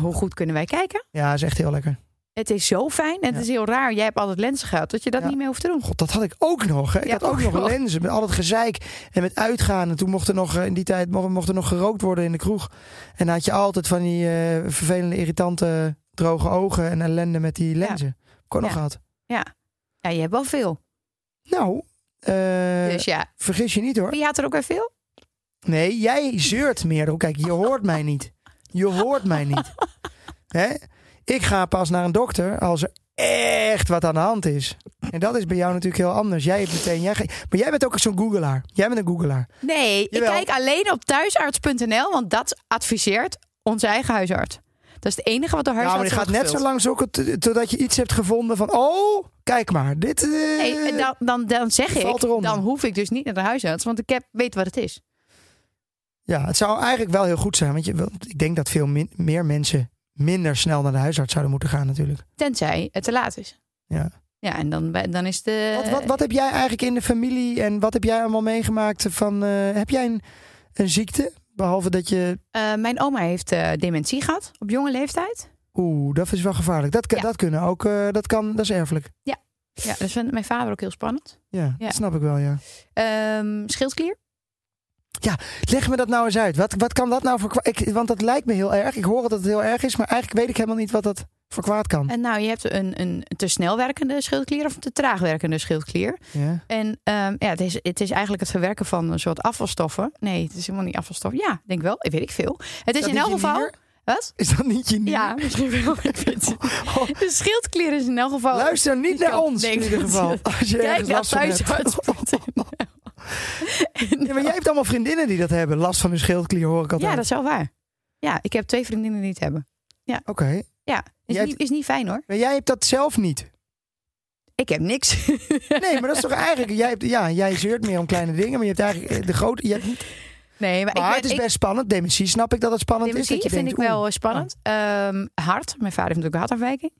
[SPEAKER 3] hoe goed kunnen wij kijken?
[SPEAKER 1] Ja, is echt heel lekker.
[SPEAKER 3] Het is zo fijn en het is heel raar. Jij hebt altijd lenzen gehad, dat je dat
[SPEAKER 1] Ja.
[SPEAKER 3] niet meer hoeft te doen.
[SPEAKER 1] God, dat had ik ook nog. Hè? Ik
[SPEAKER 3] Ja,
[SPEAKER 1] had ook,
[SPEAKER 3] ook
[SPEAKER 1] nog,
[SPEAKER 3] nog.
[SPEAKER 1] lenzen met al dat gezeik en met uitgaan. En toen mocht er nog eh, in die tijd mocht, mocht er nog gerookt worden in de kroeg. En dan had je altijd van die eh, vervelende, irritante, droge ogen en ellende met die lenzen. Heb ik ook nog
[SPEAKER 3] Ja.
[SPEAKER 1] gehad.
[SPEAKER 3] Ja, je hebt wel veel.
[SPEAKER 1] Nou, eh,
[SPEAKER 3] dus ja.
[SPEAKER 1] vergis je niet hoor.
[SPEAKER 3] Wie had er ook weer veel?
[SPEAKER 1] Nee, jij zeurt meer. dan- Kijk, je hoort mij niet. Je hoort mij niet. Hè? Ik ga pas naar een dokter als er echt wat aan de hand is. En dat is bij jou natuurlijk heel anders. Jij hebt meteen. Jij ge- maar jij bent ook zo'n googelaar. Jij bent een googelaar.
[SPEAKER 3] Nee,
[SPEAKER 1] Jawel.
[SPEAKER 3] ik kijk alleen op thuisarts.nl, want dat adviseert onze eigen huisarts. Dat is het enige wat de
[SPEAKER 1] Ja,
[SPEAKER 3] huisarts
[SPEAKER 1] Nou, maar die gaat
[SPEAKER 3] wordt
[SPEAKER 1] net zo
[SPEAKER 3] gevuld.
[SPEAKER 1] lang zoeken tot- totdat je iets hebt gevonden van. Oh, kijk maar. Dit. eh,
[SPEAKER 3] Nee, en dan, dan, dan zeg
[SPEAKER 1] Die
[SPEAKER 3] ik,
[SPEAKER 1] valt eronder.
[SPEAKER 3] dan hoef ik dus niet naar de huisarts, want ik heb, weet wat het is.
[SPEAKER 1] Ja, het zou eigenlijk wel heel goed zijn. Want je, want ik denk dat veel min- meer mensen minder snel naar de huisarts zouden moeten gaan, natuurlijk.
[SPEAKER 3] Tenzij het te laat is.
[SPEAKER 1] Ja.
[SPEAKER 3] Ja, en dan, dan is de...
[SPEAKER 1] Wat, wat, wat heb jij eigenlijk in de familie en wat heb jij allemaal meegemaakt? Van, eh, heb jij een, een ziekte? Behalve dat je.
[SPEAKER 3] Eh, mijn oma heeft eh, dementie gehad op jonge leeftijd.
[SPEAKER 1] Oeh, dat is wel gevaarlijk. Dat, kan-
[SPEAKER 3] Ja.
[SPEAKER 1] dat kunnen ook. eh, dat, kan, dat is erfelijk.
[SPEAKER 3] Ja, dat vindt mijn vader ook heel spannend.
[SPEAKER 1] Ja,
[SPEAKER 3] Ja.
[SPEAKER 1] dat snap ik wel, ja.
[SPEAKER 3] Ehm, schildklier?
[SPEAKER 1] Leg me dat nou eens uit. Wat, wat kan dat nou voor kwa- ik, Want dat lijkt me heel erg. Ik hoor dat het heel erg is, maar eigenlijk weet ik helemaal niet wat dat voor kwaad kan.
[SPEAKER 3] En nou, je hebt een, een te snel werkende schildklier of een te traag werkende schildklier.
[SPEAKER 1] Ja.
[SPEAKER 3] En ehm, ja, het, is, het is eigenlijk het verwerken van een soort afvalstoffen. Nee, het is helemaal niet afvalstoffen. Ja, denk wel. Ik weet ik veel. Het is,
[SPEAKER 1] dat
[SPEAKER 3] in elk
[SPEAKER 1] niet je
[SPEAKER 3] geval...
[SPEAKER 1] nier?
[SPEAKER 3] Wat?
[SPEAKER 1] Is dat niet je nier?
[SPEAKER 3] Ja, misschien wel. Ik weet het.
[SPEAKER 1] Oh,
[SPEAKER 3] De schildklier is in elk geval...
[SPEAKER 1] luister niet
[SPEAKER 3] Oh, ik
[SPEAKER 1] naar
[SPEAKER 3] kan-
[SPEAKER 1] ons
[SPEAKER 3] nee,
[SPEAKER 1] in ieder
[SPEAKER 3] dat-
[SPEAKER 1] geval. Als je
[SPEAKER 3] Kijk
[SPEAKER 1] ergens
[SPEAKER 3] naar
[SPEAKER 1] last van hebt.
[SPEAKER 3] thuisarts.nl.
[SPEAKER 1] Ja, maar jij hebt allemaal vriendinnen die dat hebben. Last van hun schildklier hoor ik altijd.
[SPEAKER 3] Ja, dat is wel waar. Ja, ik heb twee vriendinnen die het hebben.
[SPEAKER 1] Oké.
[SPEAKER 3] Ja, is,
[SPEAKER 1] Jij
[SPEAKER 3] niet, is niet fijn hoor.
[SPEAKER 1] Maar jij hebt dat zelf niet.
[SPEAKER 3] Ik heb niks.
[SPEAKER 1] Nee, maar dat is toch eigenlijk. Jij, hebt, ja, jij zeurt meer om kleine dingen, maar je hebt eigenlijk eh, de grote. Je hebt niet,
[SPEAKER 3] Nee, maar,
[SPEAKER 1] maar
[SPEAKER 3] ik,
[SPEAKER 1] het
[SPEAKER 3] ben,
[SPEAKER 1] is
[SPEAKER 3] ik,
[SPEAKER 1] best spannend. Dementie snap ik dat het spannend
[SPEAKER 3] dementie
[SPEAKER 1] is. Dat je
[SPEAKER 3] vind
[SPEAKER 1] denkt,
[SPEAKER 3] ik
[SPEAKER 1] oeh, Ah.
[SPEAKER 3] wel eh, spannend. Ehm, hart. Mijn vader heeft natuurlijk een hartafwijking.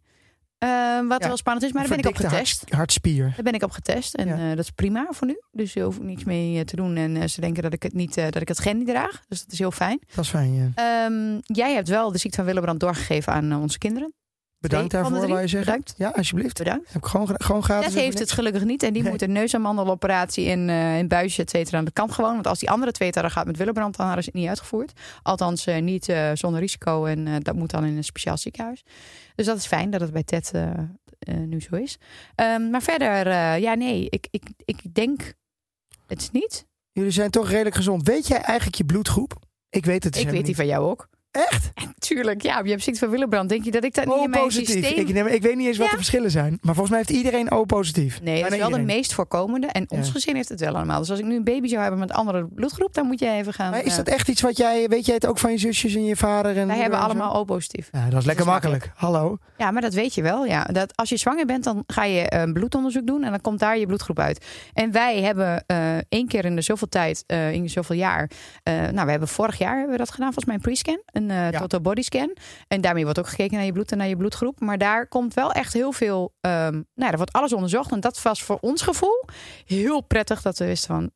[SPEAKER 3] Ehm, wat
[SPEAKER 1] Ja,
[SPEAKER 3] wel spannend is, maar daar ben ik op
[SPEAKER 1] verdikte
[SPEAKER 3] getest.
[SPEAKER 1] harts- hartspier.
[SPEAKER 3] Daar ben ik op getest en
[SPEAKER 1] Ja.
[SPEAKER 3] eh, dat is prima voor nu. Dus je hoeft niets mee eh, te doen. En eh, ze denken dat ik het, niet, eh, dat ik het gen niet draag. Dus dat is heel fijn.
[SPEAKER 1] Dat is fijn. ja.
[SPEAKER 3] Ehm, jij hebt wel de ziekte van Willebrand doorgegeven aan eh, onze kinderen.
[SPEAKER 1] Bedankt
[SPEAKER 3] Twee van de
[SPEAKER 1] daarvoor,
[SPEAKER 3] drie.
[SPEAKER 1] wou je zeggen.
[SPEAKER 3] Bedankt.
[SPEAKER 1] Ja, alsjeblieft.
[SPEAKER 3] Bedankt.
[SPEAKER 1] Heb ik gewoon, gra- gewoon gratis.
[SPEAKER 3] Dat
[SPEAKER 1] even
[SPEAKER 3] heeft
[SPEAKER 1] niks.
[SPEAKER 3] het gelukkig niet. En die
[SPEAKER 1] Nee.
[SPEAKER 3] moet een neusamandeloperatie en eh een buisje, et cetera, aan de kant gewoon. Want als die andere twee het hadden gehad met Willebrand, dan hadden ze het niet uitgevoerd. Althans, eh, niet eh, zonder risico. En eh, dat moet dan in een speciaal ziekenhuis. Dus dat is fijn dat het bij Ted eh, eh, nu zo is. Ehm, maar verder, eh, ja, nee, ik, ik, ik denk het is niet.
[SPEAKER 1] Jullie zijn toch redelijk gezond. Weet jij eigenlijk je bloedgroep? Ik weet het dus
[SPEAKER 3] ik weet die
[SPEAKER 1] helemaal
[SPEAKER 3] van jou ook.
[SPEAKER 1] niet. Echt?
[SPEAKER 3] Tuurlijk, ja, je hebt ziekte van Willebrand. Denk je dat ik dat niet
[SPEAKER 1] O
[SPEAKER 3] in mijn
[SPEAKER 1] positief.
[SPEAKER 3] systeem...
[SPEAKER 1] Ik, neem- ik weet niet eens wat
[SPEAKER 3] Ja.
[SPEAKER 1] de verschillen zijn. Maar volgens mij heeft iedereen O positief.
[SPEAKER 3] Nee, dat is wel
[SPEAKER 1] Bijna
[SPEAKER 3] de
[SPEAKER 1] iedereen.
[SPEAKER 3] meest voorkomende. En ons
[SPEAKER 1] Ja.
[SPEAKER 3] gezin heeft het wel allemaal. Dus als ik nu een baby zou hebben met een andere bloedgroep, dan moet jij even gaan...
[SPEAKER 1] Maar is
[SPEAKER 3] eh,
[SPEAKER 1] dat echt iets wat jij... Weet jij het ook van je zusjes en je vader? En
[SPEAKER 3] Wij
[SPEAKER 1] moeder
[SPEAKER 3] hebben
[SPEAKER 1] en zo?
[SPEAKER 3] allemaal O-positief.
[SPEAKER 1] Ja, dat is lekker
[SPEAKER 3] is
[SPEAKER 1] makkelijk. Hallo.
[SPEAKER 3] Ja, maar dat weet je wel. Ja. Dat als je zwanger bent, dan ga je eh, een bloedonderzoek doen en dan komt daar je bloedgroep uit. En wij hebben eh, één keer in de zoveel tijd, eh, in de zoveel jaar. eh, nou, we hebben vorig jaar hebben we dat gedaan, volgens mij een pre-scan, een eh
[SPEAKER 1] Ja.
[SPEAKER 3] total body scan. En daarmee wordt ook gekeken naar je bloed en naar je bloedgroep. Maar daar komt wel echt heel veel. ehm, nou, er wordt alles onderzocht. En dat was voor ons gevoel heel prettig dat we wisten van.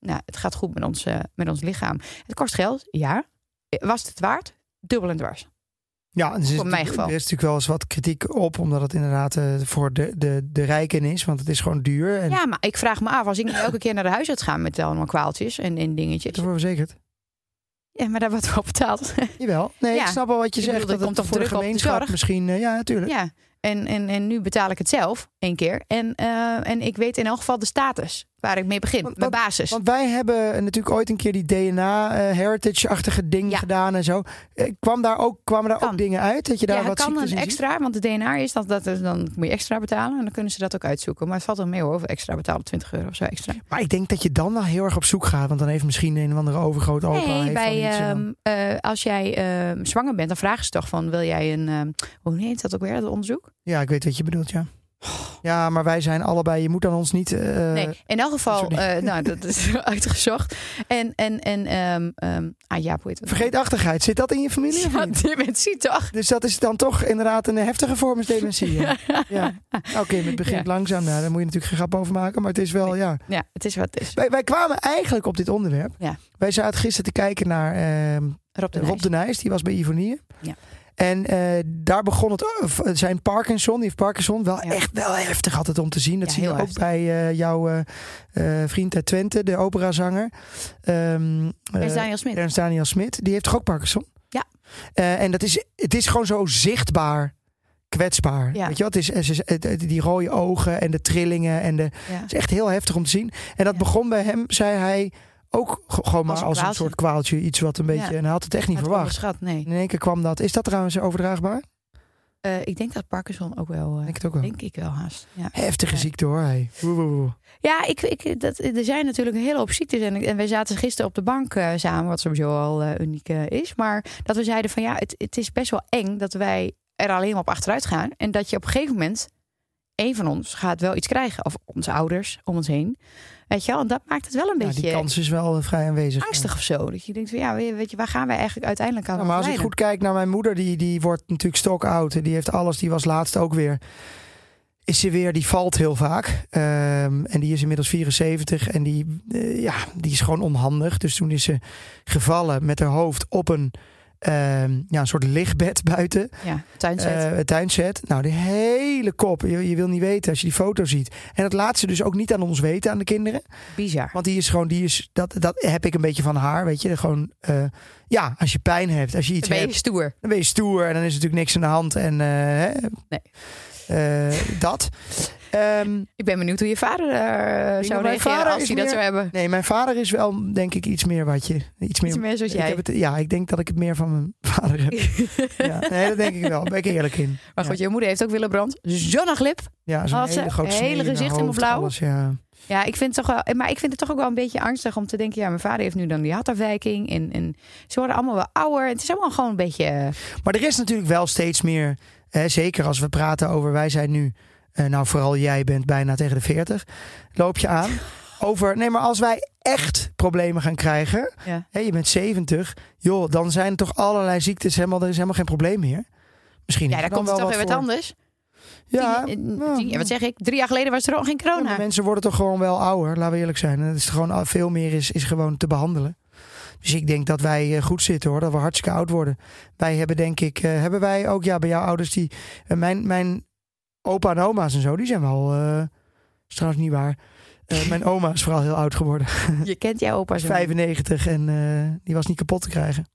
[SPEAKER 3] Nou, het gaat goed met ons, eh, met ons lichaam. Het kost geld, ja. Was het het waard? Dubbel en dwars.
[SPEAKER 1] Ja, dus
[SPEAKER 3] Voor mijn geval.
[SPEAKER 1] Er is natuurlijk wel eens wat kritiek op, omdat het inderdaad eh, voor de, de, de rijken is, want het is gewoon duur. En
[SPEAKER 3] Ja, maar ik vraag me af, als ik nu elke keer naar de huisarts ga met allemaal kwaaltjes en, en dingetjes.
[SPEAKER 1] Daarvoor verzekerd.
[SPEAKER 3] Ja, maar daar wordt wel betaald.
[SPEAKER 1] Jawel. Nee,
[SPEAKER 3] Ja.
[SPEAKER 1] ik snap wel wat je
[SPEAKER 3] Ik
[SPEAKER 1] zegt.
[SPEAKER 3] bedoel, er
[SPEAKER 1] dat
[SPEAKER 3] komt toch
[SPEAKER 1] het voor de
[SPEAKER 3] druk op de
[SPEAKER 1] gemeenschap
[SPEAKER 3] zorg?
[SPEAKER 1] misschien. eh, ja, natuurlijk.
[SPEAKER 3] ja. En, en, en nu betaal ik het zelf één keer. En, eh, en ik weet in elk geval de status waar ik mee begin.
[SPEAKER 1] Want-
[SPEAKER 3] mijn basis.
[SPEAKER 1] Want wij hebben eh, natuurlijk ooit een keer die DNA-heritage-achtige eh, ding
[SPEAKER 3] Ja.
[SPEAKER 1] gedaan en zo. Eh, kwam daar ook, kwamen daar
[SPEAKER 3] Kan.
[SPEAKER 1] ook dingen uit? Dat je daar
[SPEAKER 3] ja, het
[SPEAKER 1] wat
[SPEAKER 3] kan
[SPEAKER 1] ziektes
[SPEAKER 3] een
[SPEAKER 1] in ziet?
[SPEAKER 3] extra, want de DNA is dat, dat dan moet je extra betalen. En dan kunnen ze dat ook uitzoeken. Maar het valt wel mee hoor, of we extra betalen, 20 euro of zo extra.
[SPEAKER 1] Maar ik denk dat je dan wel heel erg op zoek gaat. Want dan heeft misschien een of andere overgroot opa...
[SPEAKER 3] Nee,
[SPEAKER 1] heeft
[SPEAKER 3] bij,
[SPEAKER 1] dan iets en dan-
[SPEAKER 3] ehm, eh, als jij ehm, zwanger bent, dan vragen ze toch van... wil jij een, ehm, hoe heet dat ook weer, dat onderzoek?
[SPEAKER 1] Ja, ik weet wat je bedoelt, ja. Ja, maar wij zijn allebei... Je moet aan ons niet... eh,
[SPEAKER 3] Nee, in elk geval,
[SPEAKER 1] sorry.
[SPEAKER 3] eh, nou, dat is uitgezocht. En, en, en, ehm ehm ah ja, hoe heet het?
[SPEAKER 1] Vergeetachtigheid, zit dat in je familie? of
[SPEAKER 3] Ja,
[SPEAKER 1] niet?
[SPEAKER 3] dementie toch?
[SPEAKER 1] Dus dat is dan toch inderdaad een heftige vorm van dementie. Ja. Ja. Oké, maar het begint
[SPEAKER 3] Ja.
[SPEAKER 1] langzaam. Nou, daar moet je natuurlijk geen grap over maken. Maar het is wel, ja.
[SPEAKER 3] Ja, het is wat het is.
[SPEAKER 1] Wij, wij kwamen eigenlijk op dit onderwerp.
[SPEAKER 3] Ja.
[SPEAKER 1] Wij zaten gisteren te kijken naar ehm,
[SPEAKER 3] Rob de
[SPEAKER 1] Rob
[SPEAKER 3] Nijs.
[SPEAKER 1] de Nijs. Die was bij Ivonier.
[SPEAKER 3] Ja.
[SPEAKER 1] En eh, daar begon het, eh, zijn Parkinson, die heeft Parkinson, wel
[SPEAKER 3] Ja.
[SPEAKER 1] echt wel heftig altijd om te zien. Dat
[SPEAKER 3] Ja,
[SPEAKER 1] zie je
[SPEAKER 3] heel
[SPEAKER 1] ook
[SPEAKER 3] heftig.
[SPEAKER 1] bij eh, jouw eh, eh, vriend uit Twente, de operazanger. Ehm, eh,
[SPEAKER 3] Ernst Daniel Smit.
[SPEAKER 1] Ernst Daniel Smit, die heeft toch ook Parkinson?
[SPEAKER 3] Ja.
[SPEAKER 1] Eh, en dat is, het is gewoon zo zichtbaar kwetsbaar.
[SPEAKER 3] Ja.
[SPEAKER 1] Weet je wat? Het is, het is- het- het- die rode ogen en de trillingen. En de, het
[SPEAKER 3] Ja.
[SPEAKER 1] is echt heel heftig om te zien. En dat
[SPEAKER 3] Ja.
[SPEAKER 1] begon bij hem, zei hij, ook g- gewoon maar
[SPEAKER 3] Als
[SPEAKER 1] als
[SPEAKER 3] een
[SPEAKER 1] een,
[SPEAKER 3] kwaaltje.
[SPEAKER 1] soort kwaaltje. Iets wat een
[SPEAKER 3] Ja.
[SPEAKER 1] beetje... En hij had het echt niet
[SPEAKER 3] Had
[SPEAKER 1] verwacht.
[SPEAKER 3] onderschat, nee.
[SPEAKER 1] En in één keer kwam dat. Is dat trouwens overdraagbaar? Ik
[SPEAKER 3] Eh, ik denk dat Parkinson ook wel, eh,
[SPEAKER 1] denk het ook wel.
[SPEAKER 3] denk ik wel haast. Ja.
[SPEAKER 1] Heftige
[SPEAKER 3] Ja.
[SPEAKER 1] ziekte hoor. Hey. Woe, woe, woe.
[SPEAKER 3] Ja, ik, ik, dat, er zijn natuurlijk een hele hoop ziektes. En, ik- en wij zaten gisteren op de bank eh, samen, wat sowieso al eh, uniek eh, is. Maar dat we zeiden van ja, het, het is best wel eng dat wij er alleen maar op achteruit gaan. En dat je op een gegeven moment, één van ons gaat wel iets krijgen. Of onze ouders om ons heen. Weet je wel, en dat maakt het wel een
[SPEAKER 1] Ja, Nou, die
[SPEAKER 3] beetje
[SPEAKER 1] kans is wel eh, vrij aanwezig.
[SPEAKER 3] angstig of zo. Dat je denkt van ja, weet weet je, waar gaan wij eigenlijk uiteindelijk aan
[SPEAKER 1] Ja, maar als ik
[SPEAKER 3] leiden?
[SPEAKER 1] goed kijk naar mijn moeder, die, die wordt natuurlijk stokoud. en Die heeft alles, die was laatst ook weer. Is ze weer, die valt heel vaak. Ehm, en die is inmiddels 74 en die, eh, ja, die is gewoon onhandig. Dus toen is ze gevallen met haar hoofd op een, ehm, ja, een soort lichtbed buiten.
[SPEAKER 3] Ja, tuinzet.
[SPEAKER 1] Eh, het tuinset. Nou, de hele kop. Je, je wil niet weten als je die foto ziet. En dat laat ze dus ook niet aan ons weten, aan de kinderen.
[SPEAKER 3] Bizar.
[SPEAKER 1] Want die is gewoon, die is, dat, dat heb ik een beetje van haar. Weet je, gewoon, eh, ja, als je pijn hebt, als je iets
[SPEAKER 3] Dan ben
[SPEAKER 1] hebt.
[SPEAKER 3] je stoer.
[SPEAKER 1] Dan ben je stoer en dan is natuurlijk niks aan de hand. En eh, hè? Eh, dat. Ehm,
[SPEAKER 3] Ik ben benieuwd hoe je vader eh,
[SPEAKER 1] denk dat
[SPEAKER 3] zou
[SPEAKER 1] mijn
[SPEAKER 3] reageren
[SPEAKER 1] vader
[SPEAKER 3] als
[SPEAKER 1] is
[SPEAKER 3] hij dat
[SPEAKER 1] meer-
[SPEAKER 3] zou hebben.
[SPEAKER 1] nee, mijn vader is wel, denk ik, iets meer wat je. Iets meer,
[SPEAKER 3] Iets meer zoals
[SPEAKER 1] Ik
[SPEAKER 3] jij.
[SPEAKER 1] heb het, ja, ik denk dat ik het meer van mijn vader heb. ja, nee, dat denk ik wel. Daar ben ik eerlijk in.
[SPEAKER 3] Maar goed, je moeder heeft ook Willebrand. Zonneglip.
[SPEAKER 1] Ja, zo'n
[SPEAKER 3] Had ze
[SPEAKER 1] hele grote
[SPEAKER 3] hele
[SPEAKER 1] sneeuw in haar
[SPEAKER 3] gezicht helemaal
[SPEAKER 1] hoofd,
[SPEAKER 3] blauw?
[SPEAKER 1] alles, ja.
[SPEAKER 3] Ja, ik vind het toch wel, maar ik vind het toch ook wel een beetje angstig om te denken: ja, mijn vader heeft nu dan die hartafwijking. En, en ze worden allemaal wel ouder. Het is allemaal gewoon een beetje. eh,
[SPEAKER 1] Maar er is natuurlijk wel steeds meer, hè, zeker als we praten over wij zijn nu, eh, nou vooral jij bent bijna tegen de 40, loop je aan. Over, nee, maar als wij echt problemen gaan krijgen,
[SPEAKER 3] Ja.
[SPEAKER 1] hè, je bent 70, joh, dan zijn toch allerlei ziektes helemaal, er is helemaal geen probleem meer. Misschien
[SPEAKER 3] ja,
[SPEAKER 1] is
[SPEAKER 3] daar
[SPEAKER 1] er
[SPEAKER 3] komt
[SPEAKER 1] dan
[SPEAKER 3] eh, het toch weer
[SPEAKER 1] wel
[SPEAKER 3] wat
[SPEAKER 1] voor.
[SPEAKER 3] anders.
[SPEAKER 1] Ja,
[SPEAKER 3] Tien- eh,
[SPEAKER 1] ja,
[SPEAKER 3] tien- ja, wat zeg ik? Drie jaar geleden was er ook geen
[SPEAKER 1] ja, maar
[SPEAKER 3] corona.
[SPEAKER 1] mensen worden toch gewoon wel ouder, laten we eerlijk zijn. En het is gewoon, al- veel meer is, is gewoon te behandelen. Dus ik denk dat wij eh, goed zitten hoor, dat we hartstikke oud worden. Wij hebben denk ik, eh, hebben wij ook, ja bij jouw ouders die, eh, mijn, mijn opa en oma's en zo, die zijn wel, eh is trouwens niet waar. Eh, mijn oma is vooral heel oud geworden,
[SPEAKER 3] Je kent jouw opa zo.
[SPEAKER 1] 95 en eh, die was niet kapot te krijgen.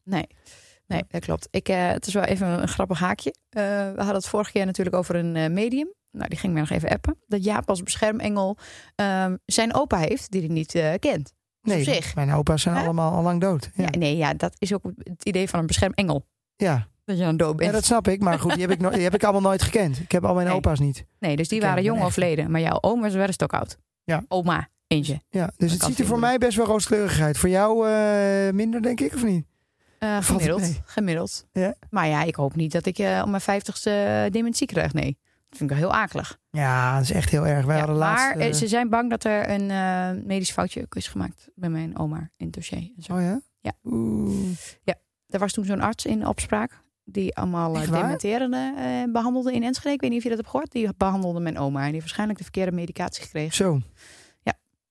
[SPEAKER 3] Nee, dat klopt. Ik, eh, het is wel even een grappig haakje. Eh, we hadden het vorige keer natuurlijk over een eh, medium. Nou, die ging mij nog even appen. Dat Jaap als beschermengel ehm, zijn opa heeft, die hij niet eh, kent.
[SPEAKER 1] Nee,
[SPEAKER 3] op zich.
[SPEAKER 1] mijn opa's zijn
[SPEAKER 3] Hè?
[SPEAKER 1] allemaal al lang dood. Ja,
[SPEAKER 3] Ja. nee, ja, dat is ook het idee van een beschermengel.
[SPEAKER 1] ja.
[SPEAKER 3] Dat je dan dood
[SPEAKER 1] Ja,
[SPEAKER 3] bent.
[SPEAKER 1] dat snap ik, maar goed, die heb ik, no- die heb ik allemaal nooit gekend. Ik heb al mijn
[SPEAKER 3] Nee.
[SPEAKER 1] opa's niet.
[SPEAKER 3] Nee, dus die
[SPEAKER 1] Ik ken
[SPEAKER 3] waren
[SPEAKER 1] hem
[SPEAKER 3] jong
[SPEAKER 1] echt.
[SPEAKER 3] overleden. Maar jouw oma's waren stokoud.
[SPEAKER 1] Ja.
[SPEAKER 3] Oma, eentje.
[SPEAKER 1] Ja, dus het
[SPEAKER 3] kan
[SPEAKER 1] ziet
[SPEAKER 3] veel
[SPEAKER 1] er voor
[SPEAKER 3] doen.
[SPEAKER 1] mij best wel rooskleurig uit. Voor jou eh, minder, denk ik, of niet?
[SPEAKER 3] Eh,
[SPEAKER 1] het
[SPEAKER 3] gemiddeld.
[SPEAKER 1] mee?
[SPEAKER 3] Gemiddeld.
[SPEAKER 1] Ja.
[SPEAKER 3] Maar ja, ik hoop niet dat ik eh, om mijn vijftigste dementie krijg. Nee. Dat vind ik wel heel akelig.
[SPEAKER 1] Ja, dat is echt heel erg. Wij
[SPEAKER 3] Ja,
[SPEAKER 1] hadden laatst...
[SPEAKER 3] maar
[SPEAKER 1] eh,
[SPEAKER 3] eh, ze zijn bang dat er een eh, medisch foutje is gemaakt bij mijn oma in het dossier. en zo.
[SPEAKER 1] Oh ja?
[SPEAKER 3] Ja.
[SPEAKER 1] Oeh.
[SPEAKER 3] Er was toen zo'n arts in opspraak. Die allemaal
[SPEAKER 1] Echt
[SPEAKER 3] eh,
[SPEAKER 1] waar?
[SPEAKER 3] dementerende eh, behandelde in Enschede. Ik weet niet of je dat hebt gehoord. Die behandelde mijn oma. En die heeft waarschijnlijk de verkeerde medicatie gekregen.
[SPEAKER 1] Zo.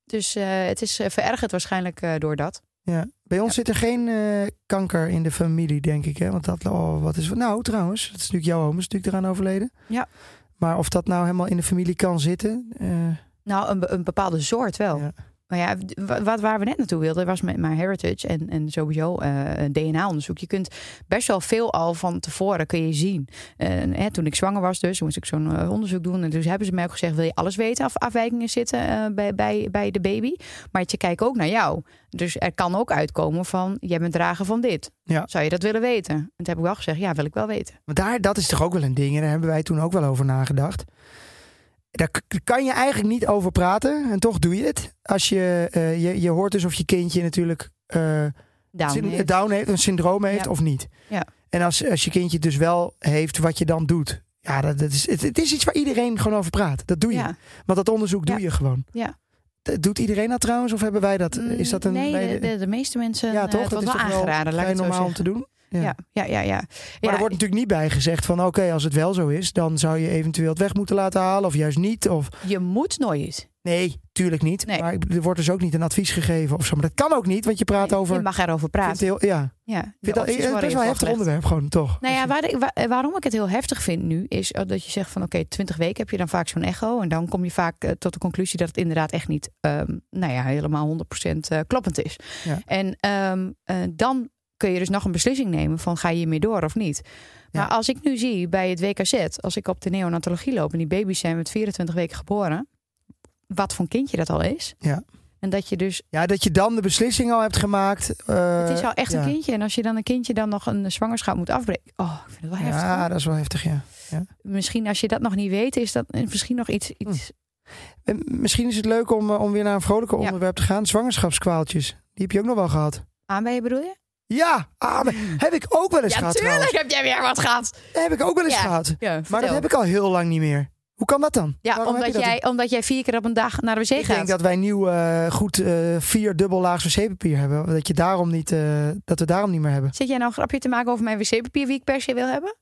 [SPEAKER 3] Dus eh, het is eh, verergerd waarschijnlijk eh, door dat.
[SPEAKER 1] Ja. Bij ons zit er geen eh, kanker in de familie, denk ik. Hè? Want dat... Oh, wat is... Nou, trouwens. Dat is natuurlijk jouw oom is natuurlijk eraan overleden.
[SPEAKER 3] Ja.
[SPEAKER 1] Maar of dat nou helemaal in de familie kan zitten... eh,
[SPEAKER 3] Nou, een, be- een bepaalde soort wel.
[SPEAKER 1] Ja.
[SPEAKER 3] Maar ja, wa- wat, waar we net naartoe wilden was met mijn heritage en, en sowieso eh, een DNA-onderzoek. Je kunt best wel veel al van tevoren kun je zien. En, hè, toen ik zwanger was dus, moest ik zo'n eh, onderzoek doen. En toen hebben ze mij ook gezegd, wil je alles weten of afwijkingen zitten eh, bij, bij, bij de baby? Maar je kijkt ook naar jou. Dus er kan ook uitkomen van, jij bent drager van dit.
[SPEAKER 1] Ja.
[SPEAKER 3] Zou je dat willen weten? En toen heb ik wel gezegd, ja, wil ik wel weten.
[SPEAKER 1] Maar daar, dat is toch ook wel een ding. En daar hebben wij toen ook wel over nagedacht. Daar k- kan je eigenlijk niet over praten. En toch doe je het. Als je, eh, je, je hoort dus of je kindje natuurlijk eh,
[SPEAKER 3] Down
[SPEAKER 1] syn-
[SPEAKER 3] heeft.
[SPEAKER 1] down heeft, een syndroom heeft
[SPEAKER 3] Ja.
[SPEAKER 1] of niet.
[SPEAKER 3] Ja.
[SPEAKER 1] En als, als je kindje het dus wel heeft, wat je dan doet. Ja, dat, dat is, het, het is iets waar iedereen gewoon over praat. Dat doe je.
[SPEAKER 3] Ja.
[SPEAKER 1] Want dat onderzoek doe
[SPEAKER 3] Ja.
[SPEAKER 1] je gewoon.
[SPEAKER 3] Ja.
[SPEAKER 1] D- Doet iedereen dat trouwens? Of hebben wij dat? Is dat een... wij-
[SPEAKER 3] Nee, de, de, de meeste mensen...
[SPEAKER 1] ja,
[SPEAKER 3] eh,
[SPEAKER 1] toch?
[SPEAKER 3] het
[SPEAKER 1] Dat
[SPEAKER 3] wordt
[SPEAKER 1] is
[SPEAKER 3] wel
[SPEAKER 1] toch wel
[SPEAKER 3] aangeraden, laat ik
[SPEAKER 1] vrij
[SPEAKER 3] het zo
[SPEAKER 1] normaal om
[SPEAKER 3] zeggen.
[SPEAKER 1] te doen?
[SPEAKER 3] Ja, ja, ja. ja.
[SPEAKER 1] Maar
[SPEAKER 3] ja,
[SPEAKER 1] er wordt natuurlijk niet bij gezegd van oké, als het wel zo is, dan zou je eventueel het weg moeten laten halen of juist niet. Of
[SPEAKER 3] Je moet nooit.
[SPEAKER 1] Nee, tuurlijk niet.
[SPEAKER 3] Nee.
[SPEAKER 1] Maar ik- er wordt dus ook niet een advies gegeven of zo. Maar dat kan ook niet, want je praat over...
[SPEAKER 3] Je mag erover
[SPEAKER 1] vindt
[SPEAKER 3] praten.
[SPEAKER 1] heel, ja,
[SPEAKER 3] Ja, de
[SPEAKER 1] vind dat,
[SPEAKER 3] opties
[SPEAKER 1] het is
[SPEAKER 3] worden
[SPEAKER 1] best wel een
[SPEAKER 3] je
[SPEAKER 1] heftig
[SPEAKER 3] voorgelegd.
[SPEAKER 1] onderwerp gewoon, toch?
[SPEAKER 3] Nou ja, waar ik- wa- eh, waarom ik het heel heftig vind nu, is eh, dat je zegt van oké, 20 weken heb je dan vaak zo'n echo. En dan kom je vaak eh, tot de conclusie dat het inderdaad echt niet, ehm, nou ja, helemaal 100% eh, kloppend is.
[SPEAKER 1] Ja.
[SPEAKER 3] En ehm, eh, dan kun je dus nog een beslissing nemen van ga je hiermee door of niet. Maar
[SPEAKER 1] Ja.
[SPEAKER 3] als ik nu zie bij het WKZ, als ik op de neonatologie loop en die baby's zijn met 24 weken geboren, wat voor een kindje dat al is.
[SPEAKER 1] Ja.
[SPEAKER 3] En dat je dus
[SPEAKER 1] Ja, dat je dan de beslissing al hebt gemaakt. eh,
[SPEAKER 3] het is al echt
[SPEAKER 1] ja.
[SPEAKER 3] een kindje. En als je dan een kindje dan nog een zwangerschap moet afbreken. Oh, ik vind het wel heftig. hoor.
[SPEAKER 1] Ja, dat is wel heftig, ja.
[SPEAKER 3] Misschien als je dat nog niet weet, is dat misschien nog iets.
[SPEAKER 1] Hm.
[SPEAKER 3] iets...
[SPEAKER 1] En misschien is het leuk om, eh, om weer naar een vrolijker
[SPEAKER 3] Ja.
[SPEAKER 1] onderwerp te gaan. Zwangerschapskwaaltjes. Die heb je ook nog wel gehad.
[SPEAKER 3] Aanbijen bedoel je?
[SPEAKER 1] Ja, ah, maar heb ik ook wel eens
[SPEAKER 3] Hmm. Ja,
[SPEAKER 1] gehad
[SPEAKER 3] tuurlijk heb jij weer wat gehad.
[SPEAKER 1] trouwens. Heb ik ook wel eens
[SPEAKER 3] Ja.
[SPEAKER 1] gehad.
[SPEAKER 3] Ja,
[SPEAKER 1] Maar dat heb ik al heel lang niet meer. Hoe kan dat dan?
[SPEAKER 3] Ja,
[SPEAKER 1] Waarom heb
[SPEAKER 3] omdat
[SPEAKER 1] je dat
[SPEAKER 3] jij, omdat jij vier keer op een dag naar de wc
[SPEAKER 1] Ik
[SPEAKER 3] gaat.
[SPEAKER 1] denk dat wij nieuw eh, goed eh, vier dubbel laags wc-papier hebben. Dat, je daarom niet, eh, dat we daarom niet meer hebben.
[SPEAKER 3] Zit jij nou een grapje te maken over mijn wc-papier wie ik per se wil hebben?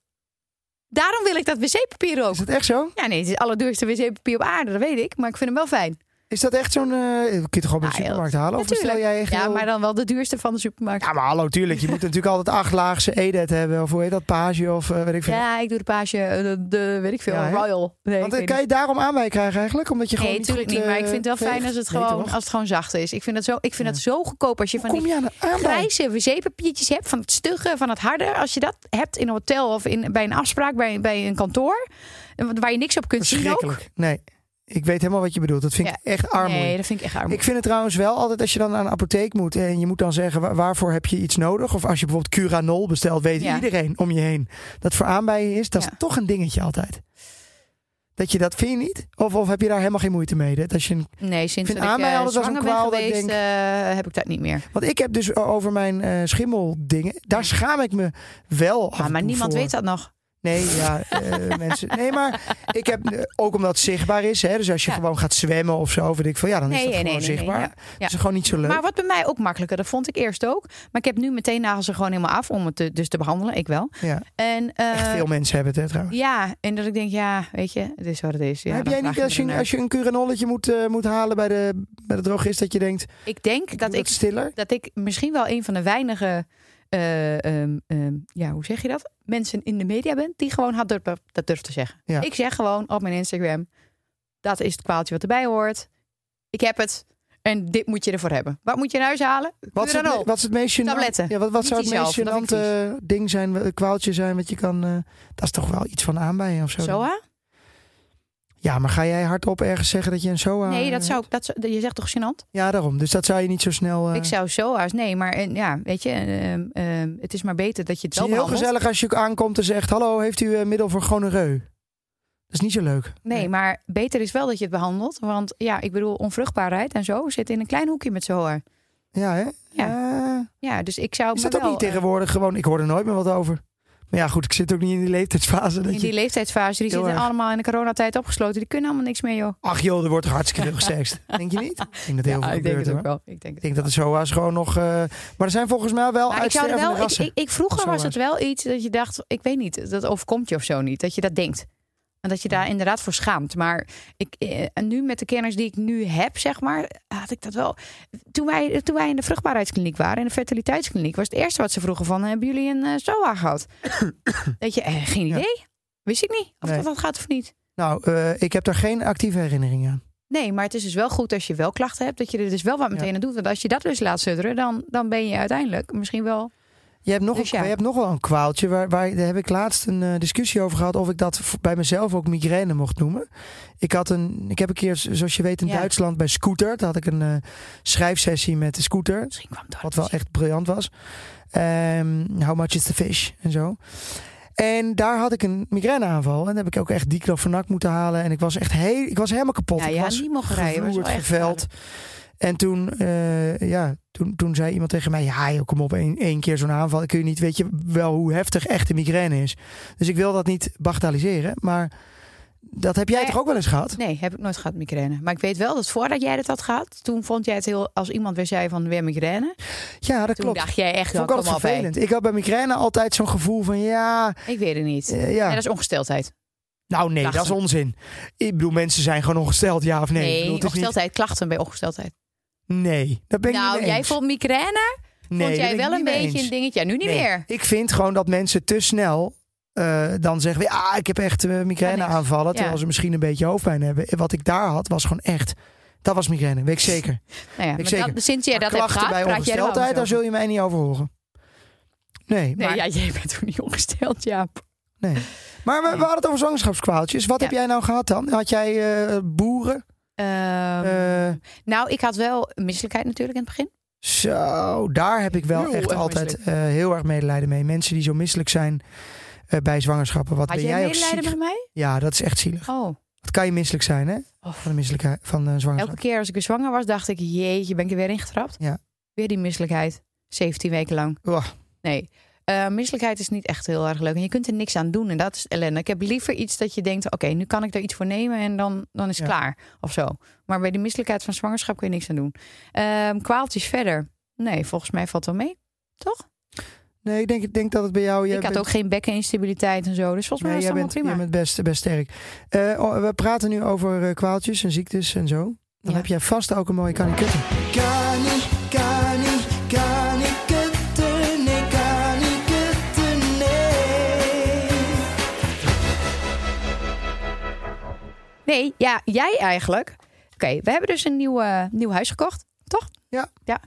[SPEAKER 3] Daarom wil ik dat wc-papier ook.
[SPEAKER 1] Is dat echt zo?
[SPEAKER 3] Ja, nee, het is het allerduurste wc-papier op aarde, dat weet ik. Maar ik vind hem wel fijn.
[SPEAKER 1] Is dat echt zo'n... eh kun je toch gewoon bij
[SPEAKER 3] Ah,
[SPEAKER 1] de
[SPEAKER 3] joh,
[SPEAKER 1] supermarkt halen? Of bestel
[SPEAKER 3] natuurlijk.
[SPEAKER 1] jij echt
[SPEAKER 3] Ja,
[SPEAKER 1] heel-
[SPEAKER 3] maar dan wel de duurste van de supermarkt.
[SPEAKER 1] ja, maar hallo, tuurlijk. Je moet natuurlijk altijd acht laagse edet hebben. Of hoe heet dat? Page of eh, weet ik veel.
[SPEAKER 3] Ja, ik doe de page, eh, de, de- weet ik veel,
[SPEAKER 1] Ja, hè?
[SPEAKER 3] Royal. Nee, ik
[SPEAKER 1] Want eh,
[SPEAKER 3] weet
[SPEAKER 1] kan je daarom aan mij krijgen eigenlijk? Omdat je gewoon
[SPEAKER 3] Nee, natuurlijk
[SPEAKER 1] goed,
[SPEAKER 3] niet. Maar ik
[SPEAKER 1] eh,
[SPEAKER 3] vind het wel fijn
[SPEAKER 1] veegt?
[SPEAKER 3] als het
[SPEAKER 1] Nee,
[SPEAKER 3] gewoon,
[SPEAKER 1] toch?
[SPEAKER 3] als het gewoon zacht is. Ik vind dat zo, ik vind dat zo goedkoop als je van
[SPEAKER 1] Kom
[SPEAKER 3] die
[SPEAKER 1] je aan de aanbij?
[SPEAKER 3] grijze wc-papiertjes hebt, van het stugge, van het harde. Als je dat hebt in een hotel of in, bij een afspraak, bij, bij een kantoor, eh, waar je niks op kunt zien ook.
[SPEAKER 1] Verschrikkelijk. Nee, ik weet helemaal wat je bedoelt. Dat vind ik echt armoede.
[SPEAKER 3] Nee, dat vind ik echt arm.
[SPEAKER 1] Ik vind het trouwens wel altijd als je dan naar een apotheek moet en je moet dan zeggen wa- waarvoor heb je iets nodig. Of als je bijvoorbeeld curanol bestelt, weet
[SPEAKER 3] Ja.
[SPEAKER 1] iedereen om je heen dat voor aanbijen is. Dat
[SPEAKER 3] Ja.
[SPEAKER 1] is toch een dingetje altijd. Dat je dat vind je niet? Of, of heb je daar helemaal geen moeite mee? Dat als je een-
[SPEAKER 3] nee, sinds
[SPEAKER 1] vind
[SPEAKER 3] dat ik
[SPEAKER 1] aan mij
[SPEAKER 3] eh,
[SPEAKER 1] altijd als een
[SPEAKER 3] zwanger ben
[SPEAKER 1] kwaal dat ik
[SPEAKER 3] geweest,
[SPEAKER 1] denk-
[SPEAKER 3] eh, heb ik dat niet meer.
[SPEAKER 1] Want ik heb dus o- over mijn eh, schimmeldingen, daar schaam ik me wel af
[SPEAKER 3] Ah,
[SPEAKER 1] en
[SPEAKER 3] maar
[SPEAKER 1] toe
[SPEAKER 3] niemand
[SPEAKER 1] voor.
[SPEAKER 3] weet dat nog.
[SPEAKER 1] Nee, ja, eh, mensen. Nee, maar ik heb eh, ook omdat het zichtbaar is. Hè, dus als je
[SPEAKER 3] Ja.
[SPEAKER 1] gewoon gaat zwemmen of zo, weet ik veel. Ja, dan is
[SPEAKER 3] Nee,
[SPEAKER 1] dat
[SPEAKER 3] nee, nee,
[SPEAKER 1] gewoon
[SPEAKER 3] nee, nee,
[SPEAKER 1] zichtbaar.
[SPEAKER 3] ja.
[SPEAKER 1] Dat is gewoon niet zo leuk.
[SPEAKER 3] Maar wat bij mij ook makkelijker, dat vond ik eerst ook. Maar ik heb nu meteen nagels er gewoon helemaal af om het te- dus te behandelen. Ik wel.
[SPEAKER 1] ja.
[SPEAKER 3] En, eh,
[SPEAKER 1] Echt veel mensen hebben het, hè, trouwens.
[SPEAKER 3] Ja, en dat ik denk, ja, weet je, het is wat het is. Ja,
[SPEAKER 1] heb
[SPEAKER 3] dan
[SPEAKER 1] jij
[SPEAKER 3] vraag
[SPEAKER 1] niet als
[SPEAKER 3] er
[SPEAKER 1] je,
[SPEAKER 3] naar.
[SPEAKER 1] als je een curanolletje moet, eh, moet halen bij de, bij de drogist dat je denkt, doe
[SPEAKER 3] Ik denk dat
[SPEAKER 1] dat
[SPEAKER 3] ik,
[SPEAKER 1] stiller?
[SPEAKER 3] dat ik misschien wel een van de weinige, eh, ehm, ehm, ja, hoe zeg je dat? Mensen in de media ben die gewoon had durf, dat durft te zeggen.
[SPEAKER 1] Ja.
[SPEAKER 3] Ik zeg gewoon op mijn Instagram, dat is het kwaaltje wat erbij hoort. Ik heb het en dit moet je ervoor hebben. Wat moet je naar huis halen?
[SPEAKER 1] Wat is het,
[SPEAKER 3] Curanol.
[SPEAKER 1] me- wat is het meest gênant-
[SPEAKER 3] Tabletten.
[SPEAKER 1] Ja, wat, wat
[SPEAKER 3] Niet
[SPEAKER 1] zou het
[SPEAKER 3] die
[SPEAKER 1] meest
[SPEAKER 3] zelf, dat vind ik
[SPEAKER 1] gênante ding zijn, eh, kwaaltje zijn, wat je kan... eh, dat is toch wel iets van aanbijen of zo?
[SPEAKER 3] Soa?
[SPEAKER 1] Ja, maar ga jij hardop ergens zeggen dat je een SOA...
[SPEAKER 3] Nee, dat
[SPEAKER 1] eh,
[SPEAKER 3] zou, ik- dat zou- je zegt toch gênant?
[SPEAKER 1] Ja, daarom. Dus dat zou je niet zo snel... eh,
[SPEAKER 3] Ik zou SOA's, nee, maar eh, ja, weet je, ehm, ehm, het is maar beter dat je het wel
[SPEAKER 1] Het is heel
[SPEAKER 3] behandelt.
[SPEAKER 1] gezellig als je ook aankomt en zegt... Hallo, heeft u eh, middel voor gonoreu? Dat is niet zo leuk.
[SPEAKER 3] Nee, maar beter is wel dat je het behandelt. Want ja, ik bedoel, onvruchtbaarheid en zo zit in een klein hoekje met z'n hoor.
[SPEAKER 1] Ja, hè? Eh,
[SPEAKER 3] Ja, dus ik zou.
[SPEAKER 1] is
[SPEAKER 3] me
[SPEAKER 1] dat ook
[SPEAKER 3] wel,
[SPEAKER 1] niet tegenwoordig gewoon... Ik hoor er nooit meer wat over. Maar ja, goed, ik zit ook niet in die leeftijdsfase.
[SPEAKER 3] eh, In
[SPEAKER 1] Dat je...
[SPEAKER 3] die leeftijdsfase, die
[SPEAKER 1] Heel
[SPEAKER 3] zitten
[SPEAKER 1] erg.
[SPEAKER 3] allemaal in de coronatijd opgesloten. Die kunnen allemaal niks meer, joh.
[SPEAKER 1] Ach joh, er wordt toch hartstikke veel gesext. Denk je niet? Ik denk dat heel
[SPEAKER 3] Ja,
[SPEAKER 1] veel
[SPEAKER 3] ik denk
[SPEAKER 1] gebeurt.
[SPEAKER 3] het
[SPEAKER 1] hoor.
[SPEAKER 3] ook wel. Ik denk
[SPEAKER 1] Ik
[SPEAKER 3] het.
[SPEAKER 1] denk dat de SOA's gewoon nog... eh, Maar er zijn volgens mij wel
[SPEAKER 3] Maar ik zou er
[SPEAKER 1] uitstervende
[SPEAKER 3] wel. Ik,
[SPEAKER 1] rassen.
[SPEAKER 3] ik, ik- vroeger
[SPEAKER 1] Zo
[SPEAKER 3] was het wel iets dat je dacht, ik weet niet, dat overkomt je of zo niet, dat je dat denkt. En dat je daar inderdaad voor schaamt. Maar ik, eh, en nu met de kennis die ik nu heb, zeg maar, had ik dat wel. Toen wij, toen wij in de vruchtbaarheidskliniek waren, in de fertiliteitskliniek, was het eerste wat ze vroegen van, hebben jullie een eh, SOA gehad? dat je, eh, geen
[SPEAKER 1] Ja.
[SPEAKER 3] idee. Wist ik niet of
[SPEAKER 1] Nee.
[SPEAKER 3] dat dat gaat of niet.
[SPEAKER 1] Nou, eh, ik heb daar geen actieve herinnering aan.
[SPEAKER 3] Nee, maar het is dus wel goed als je wel klachten hebt, dat je er dus wel wat
[SPEAKER 1] Ja.
[SPEAKER 3] meteen aan doet. Want als je dat dus laat sudderen, dan, dan ben je uiteindelijk misschien wel
[SPEAKER 1] Je hebt nog,
[SPEAKER 3] Dus
[SPEAKER 1] een,
[SPEAKER 3] ja.
[SPEAKER 1] je hebt nog wel een kwaaltje. Waar, waar, daar heb ik laatst een eh, discussie over gehad. Of ik dat v- bij mezelf ook migraine mocht noemen. Ik, had een, ik heb een keer, zoals je weet, in
[SPEAKER 3] Ja.
[SPEAKER 1] Duitsland bij Scooter. Daar had ik een eh, schrijfsessie met de Scooter.
[SPEAKER 3] misschien kwam dat.
[SPEAKER 1] Wat wel echt briljant was. Ehm, how much is the fish? En zo. En daar had ik een migraineaanval. En heb ik ook echt diclofenac moeten halen. En ik was echt heel, ik was helemaal kapot.
[SPEAKER 3] Ja,
[SPEAKER 1] ik
[SPEAKER 3] ja,
[SPEAKER 1] was
[SPEAKER 3] niet mogen rijden, was
[SPEAKER 1] gevloerd,
[SPEAKER 3] wel echt
[SPEAKER 1] geveld. En toen, eh, ja, toen, toen zei iemand tegen mij... Ja, joh, kom op, één, één keer zo'n aanval. Dan kun je niet, weet je wel hoe heftig echt de migraine is. Dus ik wil dat niet bagatelliseren. Maar dat heb jij
[SPEAKER 3] Nee.
[SPEAKER 1] toch ook wel eens gehad?
[SPEAKER 3] Nee, heb ik nooit gehad migraine. Maar ik weet wel dat voordat jij dat had gehad, toen vond jij het heel als iemand weer zei van weer migraine.
[SPEAKER 1] Ja, dat
[SPEAKER 3] Toen
[SPEAKER 1] klopt.
[SPEAKER 3] dacht jij echt wel
[SPEAKER 1] Vond ik
[SPEAKER 3] kom
[SPEAKER 1] altijd
[SPEAKER 3] op. hé.
[SPEAKER 1] vervelend. Ik had bij migraine altijd zo'n gevoel van ja,
[SPEAKER 3] Ik weet het niet.
[SPEAKER 1] eh,
[SPEAKER 3] Ja,
[SPEAKER 1] ja.
[SPEAKER 3] dat is ongesteldheid.
[SPEAKER 1] Nou nee,
[SPEAKER 3] Klachten.
[SPEAKER 1] dat is onzin. Ik bedoel, mensen zijn gewoon ongesteld, ja of nee. Ik
[SPEAKER 3] Nee,
[SPEAKER 1] bedoel, het is niet-
[SPEAKER 3] ongesteldheid, klachten bij ongesteldheid.
[SPEAKER 1] Nee, dat ben ik niet
[SPEAKER 3] nou,
[SPEAKER 1] mee
[SPEAKER 3] jij
[SPEAKER 1] eens.
[SPEAKER 3] vond migraine?
[SPEAKER 1] nee,
[SPEAKER 3] vond
[SPEAKER 1] daar
[SPEAKER 3] jij
[SPEAKER 1] ben
[SPEAKER 3] wel
[SPEAKER 1] ik
[SPEAKER 3] een
[SPEAKER 1] niet mee
[SPEAKER 3] beetje
[SPEAKER 1] eens.
[SPEAKER 3] een dingetje? Ja, nu niet
[SPEAKER 1] Nee,
[SPEAKER 3] meer. Nou
[SPEAKER 1] Ik vind gewoon dat mensen te snel eh, dan zeggen... we, Ah, ik heb echt eh, migraine
[SPEAKER 3] Ja, niks.
[SPEAKER 1] aanvallen.
[SPEAKER 3] Ja.
[SPEAKER 1] Terwijl ze misschien een beetje hoofdpijn hebben. En Wat ik daar had, was gewoon echt... Dat was migraine, weet ik zeker.
[SPEAKER 3] Nou ja, maar
[SPEAKER 1] zeker.
[SPEAKER 3] dat, sinds jij
[SPEAKER 1] Maar
[SPEAKER 3] dat hebt
[SPEAKER 1] klachten
[SPEAKER 3] gehad,
[SPEAKER 1] bij
[SPEAKER 3] praat jij er wel
[SPEAKER 1] ongesteldheid, daar
[SPEAKER 3] anders
[SPEAKER 1] zul je mij niet over horen. Nee,
[SPEAKER 3] over.
[SPEAKER 1] maar,
[SPEAKER 3] Nee, ja, jij bent toen niet ongesteld, ja.
[SPEAKER 1] nee. maar we, we hadden het over zwangerschapskwaaltjes. Wat
[SPEAKER 3] Ja.
[SPEAKER 1] heb jij nou gehad dan? Had jij eh, boeren?
[SPEAKER 3] Ehm,
[SPEAKER 1] Eh,
[SPEAKER 3] nou, ik had wel misselijkheid natuurlijk in het begin.
[SPEAKER 1] Zo, daar heb ik wel
[SPEAKER 3] Heel
[SPEAKER 1] echt
[SPEAKER 3] erg
[SPEAKER 1] altijd eh, heel erg medelijden mee. Mensen die zo misselijk zijn eh, bij zwangerschappen. Wat
[SPEAKER 3] Had
[SPEAKER 1] ben
[SPEAKER 3] jij
[SPEAKER 1] jij ook
[SPEAKER 3] medelijden
[SPEAKER 1] zielig?
[SPEAKER 3] met mij?
[SPEAKER 1] Ja, dat is echt zielig.
[SPEAKER 3] Oh.
[SPEAKER 1] Wat kan je misselijk zijn, hè?
[SPEAKER 3] Oh.
[SPEAKER 1] Van een misselijkheid van eh, een
[SPEAKER 3] Elke
[SPEAKER 1] zwangerschap.
[SPEAKER 3] keer als ik weer zwanger was, dacht ik, jeetje, ben ik er weer ingetrapt?
[SPEAKER 1] Ja.
[SPEAKER 3] Weer die misselijkheid. 17 weken lang.
[SPEAKER 1] Uah.
[SPEAKER 3] Nee. Eh, misselijkheid is niet echt heel erg leuk. En je kunt er niks aan doen. En dat is ellende. Ik heb liever iets dat je denkt, oké, nu kan ik daar iets voor nemen en dan, dan is het
[SPEAKER 1] Ja.
[SPEAKER 3] klaar. Of zo. Maar bij de misselijkheid van zwangerschap kun je niks aan doen. Ehm, kwaaltjes verder. Nee, volgens mij valt wel mee.
[SPEAKER 1] Nee, ik denk, ik denk dat het bij jou... jij
[SPEAKER 3] ik had
[SPEAKER 1] bent-
[SPEAKER 3] ook geen bekkeninstabiliteit en zo. Dus volgens mij
[SPEAKER 1] Nee,
[SPEAKER 3] is
[SPEAKER 1] jij
[SPEAKER 3] het
[SPEAKER 1] bent,
[SPEAKER 3] allemaal
[SPEAKER 1] jij
[SPEAKER 3] prima.
[SPEAKER 1] bent best, best sterk. Eh, oh, we praten nu over eh, kwaaltjes en ziektes en zo.
[SPEAKER 3] Ja.
[SPEAKER 1] Dan heb jij vast ook een mooie kanikutten.
[SPEAKER 4] Kani, kani, kani kuttene, kani kuttene.
[SPEAKER 3] Nee, ja, jij eigenlijk. Oké, we hebben dus een nieuw, eh, nieuw huis gekocht. Toch?
[SPEAKER 1] Ja.
[SPEAKER 3] ja.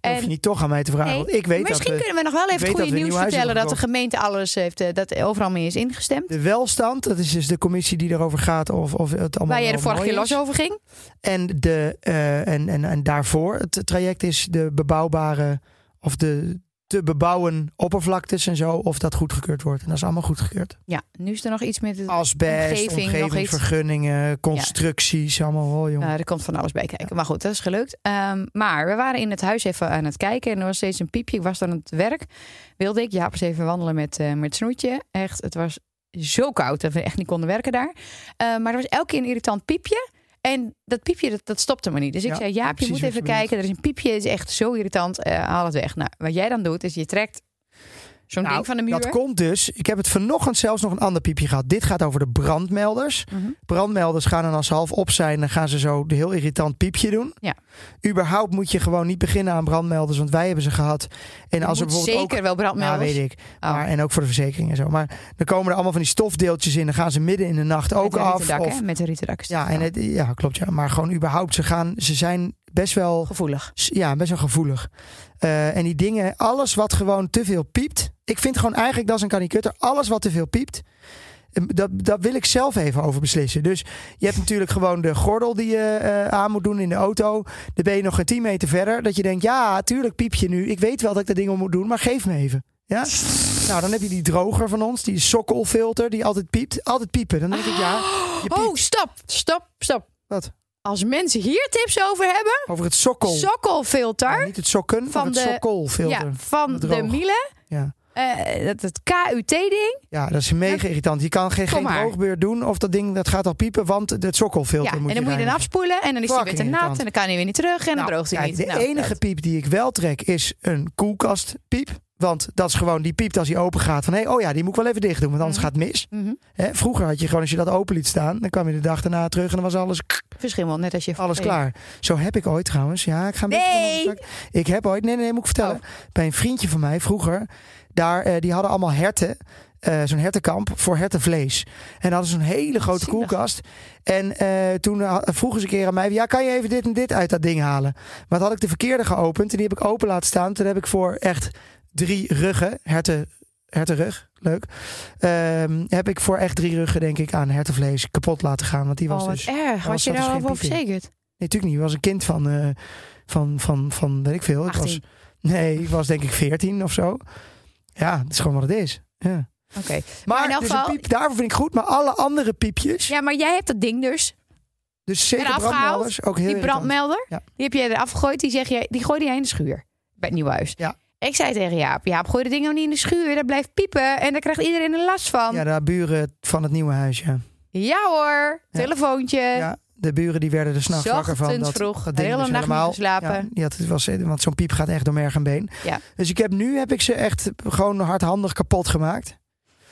[SPEAKER 1] Dat hoef je niet toch aan mij te vragen.
[SPEAKER 3] Nee,
[SPEAKER 1] want ik weet dat
[SPEAKER 3] Misschien
[SPEAKER 1] we,
[SPEAKER 3] kunnen we nog wel
[SPEAKER 1] ik
[SPEAKER 3] even
[SPEAKER 1] weet
[SPEAKER 3] het
[SPEAKER 1] dat we
[SPEAKER 3] goede
[SPEAKER 1] een
[SPEAKER 3] nieuws
[SPEAKER 1] nieuw huis
[SPEAKER 3] vertellen dat
[SPEAKER 1] hebben
[SPEAKER 3] de gemeente alles heeft, eh, dat er overal mee is ingestemd.
[SPEAKER 1] de welstand, dat is dus de commissie die erover gaat of, of het allemaal
[SPEAKER 3] Waar jij de
[SPEAKER 1] wel
[SPEAKER 3] vorige
[SPEAKER 1] mooi
[SPEAKER 3] keer
[SPEAKER 1] is.
[SPEAKER 3] los over ging.
[SPEAKER 1] En, de, eh, en, en, en daarvoor het traject is de bebouwbare of de te bebouwen oppervlaktes en zo, of dat goedgekeurd wordt. En dat is allemaal goedgekeurd.
[SPEAKER 3] Ja, nu is er nog iets met het.
[SPEAKER 1] Asbest,
[SPEAKER 3] Omgeving, nog iets.
[SPEAKER 1] omgevingsvergunningen, constructies, allemaal wel, jongen.
[SPEAKER 3] Nou, er komt van alles bij kijken. Maar goed, dat is gelukt. Ehm, maar we waren in het huis even aan het kijken. En er was steeds een piepje. Ik was dan aan het werk. Wilde ik Jaap eens even wandelen met, eh met Snoetje. Echt, het was zo koud dat we echt niet konden werken daar. Eh, maar er was elke keer een irritant piepje. En dat piepje, dat, dat stopte me niet. Dus ik
[SPEAKER 1] Ja,
[SPEAKER 3] zei, Jaap, je
[SPEAKER 1] precies
[SPEAKER 3] moet
[SPEAKER 1] wat je
[SPEAKER 3] even
[SPEAKER 1] bedoelt.
[SPEAKER 3] kijken. Er is een piepje, het is echt zo irritant. Eh, haal het weg. Nou, wat jij dan doet, is je trekt zo'n
[SPEAKER 1] Nou,
[SPEAKER 3] ding van de muur.
[SPEAKER 1] Dat komt dus. Ik heb het vanochtend zelfs nog een ander piepje gehad. Dit gaat over de brandmelders.
[SPEAKER 3] Mhm.
[SPEAKER 1] Brandmelders gaan dan als ze half op zijn, dan gaan ze zo de heel irritant piepje doen.
[SPEAKER 3] Ja.
[SPEAKER 1] Überhaupt moet je gewoon niet beginnen aan brandmelders, want wij hebben ze gehad. En
[SPEAKER 3] Je
[SPEAKER 1] als er
[SPEAKER 3] moet
[SPEAKER 1] bijvoorbeeld ook
[SPEAKER 3] zeker wel
[SPEAKER 1] Ja,
[SPEAKER 3] brandmelders.
[SPEAKER 1] weet ik.
[SPEAKER 3] Oh.
[SPEAKER 1] Maar, en ook voor de verzekering en zo. Maar dan komen er allemaal van die stofdeeltjes in. Dan gaan ze midden in de nacht ook
[SPEAKER 3] met een
[SPEAKER 1] af.
[SPEAKER 3] rietendak,
[SPEAKER 1] Of,
[SPEAKER 3] hè? Met een rietendak. is dus
[SPEAKER 1] ja, en het, ja, klopt. Ja. Maar gewoon überhaupt, ze, gaan, ze zijn best wel,
[SPEAKER 3] Gevoelig.
[SPEAKER 1] ja, best wel gevoelig. Eh, en die dingen, alles wat gewoon te veel piept. Ik vind gewoon eigenlijk, dat is een kanikutter. Alles wat te veel piept. eh, Dat, dat wil ik zelf even over beslissen. Dus je hebt natuurlijk gewoon de gordel die je eh, aan moet doen in de auto. Dan ben je nog geen 10 meter verder. Dat je denkt, ja, tuurlijk piep je nu. Ik weet wel dat ik dat ding om moet doen, maar geef me even. Ja? Nou, dan heb je die droger van ons, die sokkelfilter, die altijd piept. Altijd piepen. Dan denk ik, ja, je piept
[SPEAKER 3] Oh, stop, stop, stop.
[SPEAKER 1] Wat?
[SPEAKER 3] Als mensen hier tips over hebben,
[SPEAKER 1] over het sokkel.
[SPEAKER 3] sokkelfilter
[SPEAKER 1] Ja, niet het sokken,
[SPEAKER 3] Van
[SPEAKER 1] van het
[SPEAKER 3] de-
[SPEAKER 1] sokkelfilter.
[SPEAKER 3] ja, van
[SPEAKER 1] Droog.
[SPEAKER 3] de Miele.
[SPEAKER 1] Ja.
[SPEAKER 3] Eh, dat het KUT-ding.
[SPEAKER 1] Ja, dat is mega irritant. Je kan geen,
[SPEAKER 3] Kom
[SPEAKER 1] geen
[SPEAKER 3] maar.
[SPEAKER 1] droogbeurt doen of dat ding dat gaat al piepen, want het
[SPEAKER 3] Ja,
[SPEAKER 1] sokkelfilter
[SPEAKER 3] en
[SPEAKER 1] moet
[SPEAKER 3] dan
[SPEAKER 1] je
[SPEAKER 3] moet je dan
[SPEAKER 1] reinigen.
[SPEAKER 3] afspoelen en dan is hij weer te
[SPEAKER 1] Fucking
[SPEAKER 3] nat en
[SPEAKER 1] irritant.
[SPEAKER 3] dan kan hij weer niet terug en dan
[SPEAKER 1] Nou,
[SPEAKER 3] droogt hij
[SPEAKER 1] kijk,
[SPEAKER 3] niet.
[SPEAKER 1] De
[SPEAKER 3] Nou,
[SPEAKER 1] enige
[SPEAKER 3] dat-
[SPEAKER 1] piep die ik wel trek is een koelkastpiep. Want dat is gewoon die piep als hij open gaat. Van hé, oh ja, die moet ik wel even dicht doen, want anders
[SPEAKER 3] Mhm.
[SPEAKER 1] gaat het mis.
[SPEAKER 3] Mhm.
[SPEAKER 1] Hè, vroeger had je gewoon, als je dat open liet staan, dan kwam je de dag daarna terug en dan was alles,
[SPEAKER 3] Verschimmel, net als je...
[SPEAKER 1] alles klaar. Zo heb ik ooit trouwens, ja, ik ga een beetje van
[SPEAKER 3] Nee.
[SPEAKER 1] mijn stuk. Ik heb ooit, nee, nee, nee, moet ik
[SPEAKER 3] Oh.
[SPEAKER 1] vertellen. Bij een vriendje van mij vroeger, daar, eh, die hadden allemaal herten. eh, zo'n hertenkamp voor hertenvlees. En hadden ze een hele grote
[SPEAKER 3] Zielig.
[SPEAKER 1] koelkast. En eh, toen eh, vroegen ze een keer aan mij... ja, kan je even dit en dit uit dat ding halen? Maar toen had ik de verkeerde geopend en die heb ik open laten staan. Toen heb ik voor echt drie ruggen, herten, hertenrug, leuk. Ehm, heb ik voor echt drie ruggen, denk ik, aan hertenvlees kapot laten gaan. Want die was
[SPEAKER 3] Oh, wat
[SPEAKER 1] dus...
[SPEAKER 3] erg.
[SPEAKER 1] er
[SPEAKER 3] Was
[SPEAKER 1] was
[SPEAKER 3] je
[SPEAKER 1] dus
[SPEAKER 3] daar al
[SPEAKER 1] geen
[SPEAKER 3] voor
[SPEAKER 1] piep in.
[SPEAKER 3] verzekerd?
[SPEAKER 1] Nee, natuurlijk niet. Ik was een kind van, eh, van, van, van weet ik veel. Ik was,
[SPEAKER 3] 18.
[SPEAKER 1] nee, ik was denk ik 14 of zo. Ja, dat is gewoon wat het is. Ja.
[SPEAKER 3] Oké.
[SPEAKER 1] Maar
[SPEAKER 3] in elk
[SPEAKER 1] dus
[SPEAKER 3] geval-
[SPEAKER 1] een piep, daarvoor vind ik goed. Maar alle andere piepjes,
[SPEAKER 3] Ja, maar jij hebt dat ding dus.
[SPEAKER 1] dus zeker
[SPEAKER 3] eraf gehaald,
[SPEAKER 1] brandmelders, ook heel
[SPEAKER 3] die
[SPEAKER 1] irritant.
[SPEAKER 3] brandmelder,
[SPEAKER 1] Ja.
[SPEAKER 3] die heb jij eraf gegooid. Die, zeg jij, die gooide jij in de schuur bij het nieuwe huis.
[SPEAKER 1] Ja.
[SPEAKER 3] Ik zei tegen Jaap, Jaap, gooi dat ding nou niet in de schuur. Dat blijft piepen en daar krijgt iedereen een last van.
[SPEAKER 1] Ja,
[SPEAKER 3] Ja,
[SPEAKER 1] de buren van het nieuwe huis, ja.
[SPEAKER 3] hoor,
[SPEAKER 1] Ja.
[SPEAKER 3] telefoontje.
[SPEAKER 1] ja. De buren die werden er s'nachts wakker van.
[SPEAKER 3] Eh. Ochtends
[SPEAKER 1] Dat,
[SPEAKER 3] vroeg,
[SPEAKER 1] dat ding
[SPEAKER 3] de hele
[SPEAKER 1] dus
[SPEAKER 3] nacht niet
[SPEAKER 1] helemaal,
[SPEAKER 3] geslapen.
[SPEAKER 1] Ja, die had, het was, want zo'n piep gaat echt door merg en been.
[SPEAKER 3] Ja.
[SPEAKER 1] Dus ik heb, nu heb ik ze echt gewoon hardhandig kapot gemaakt.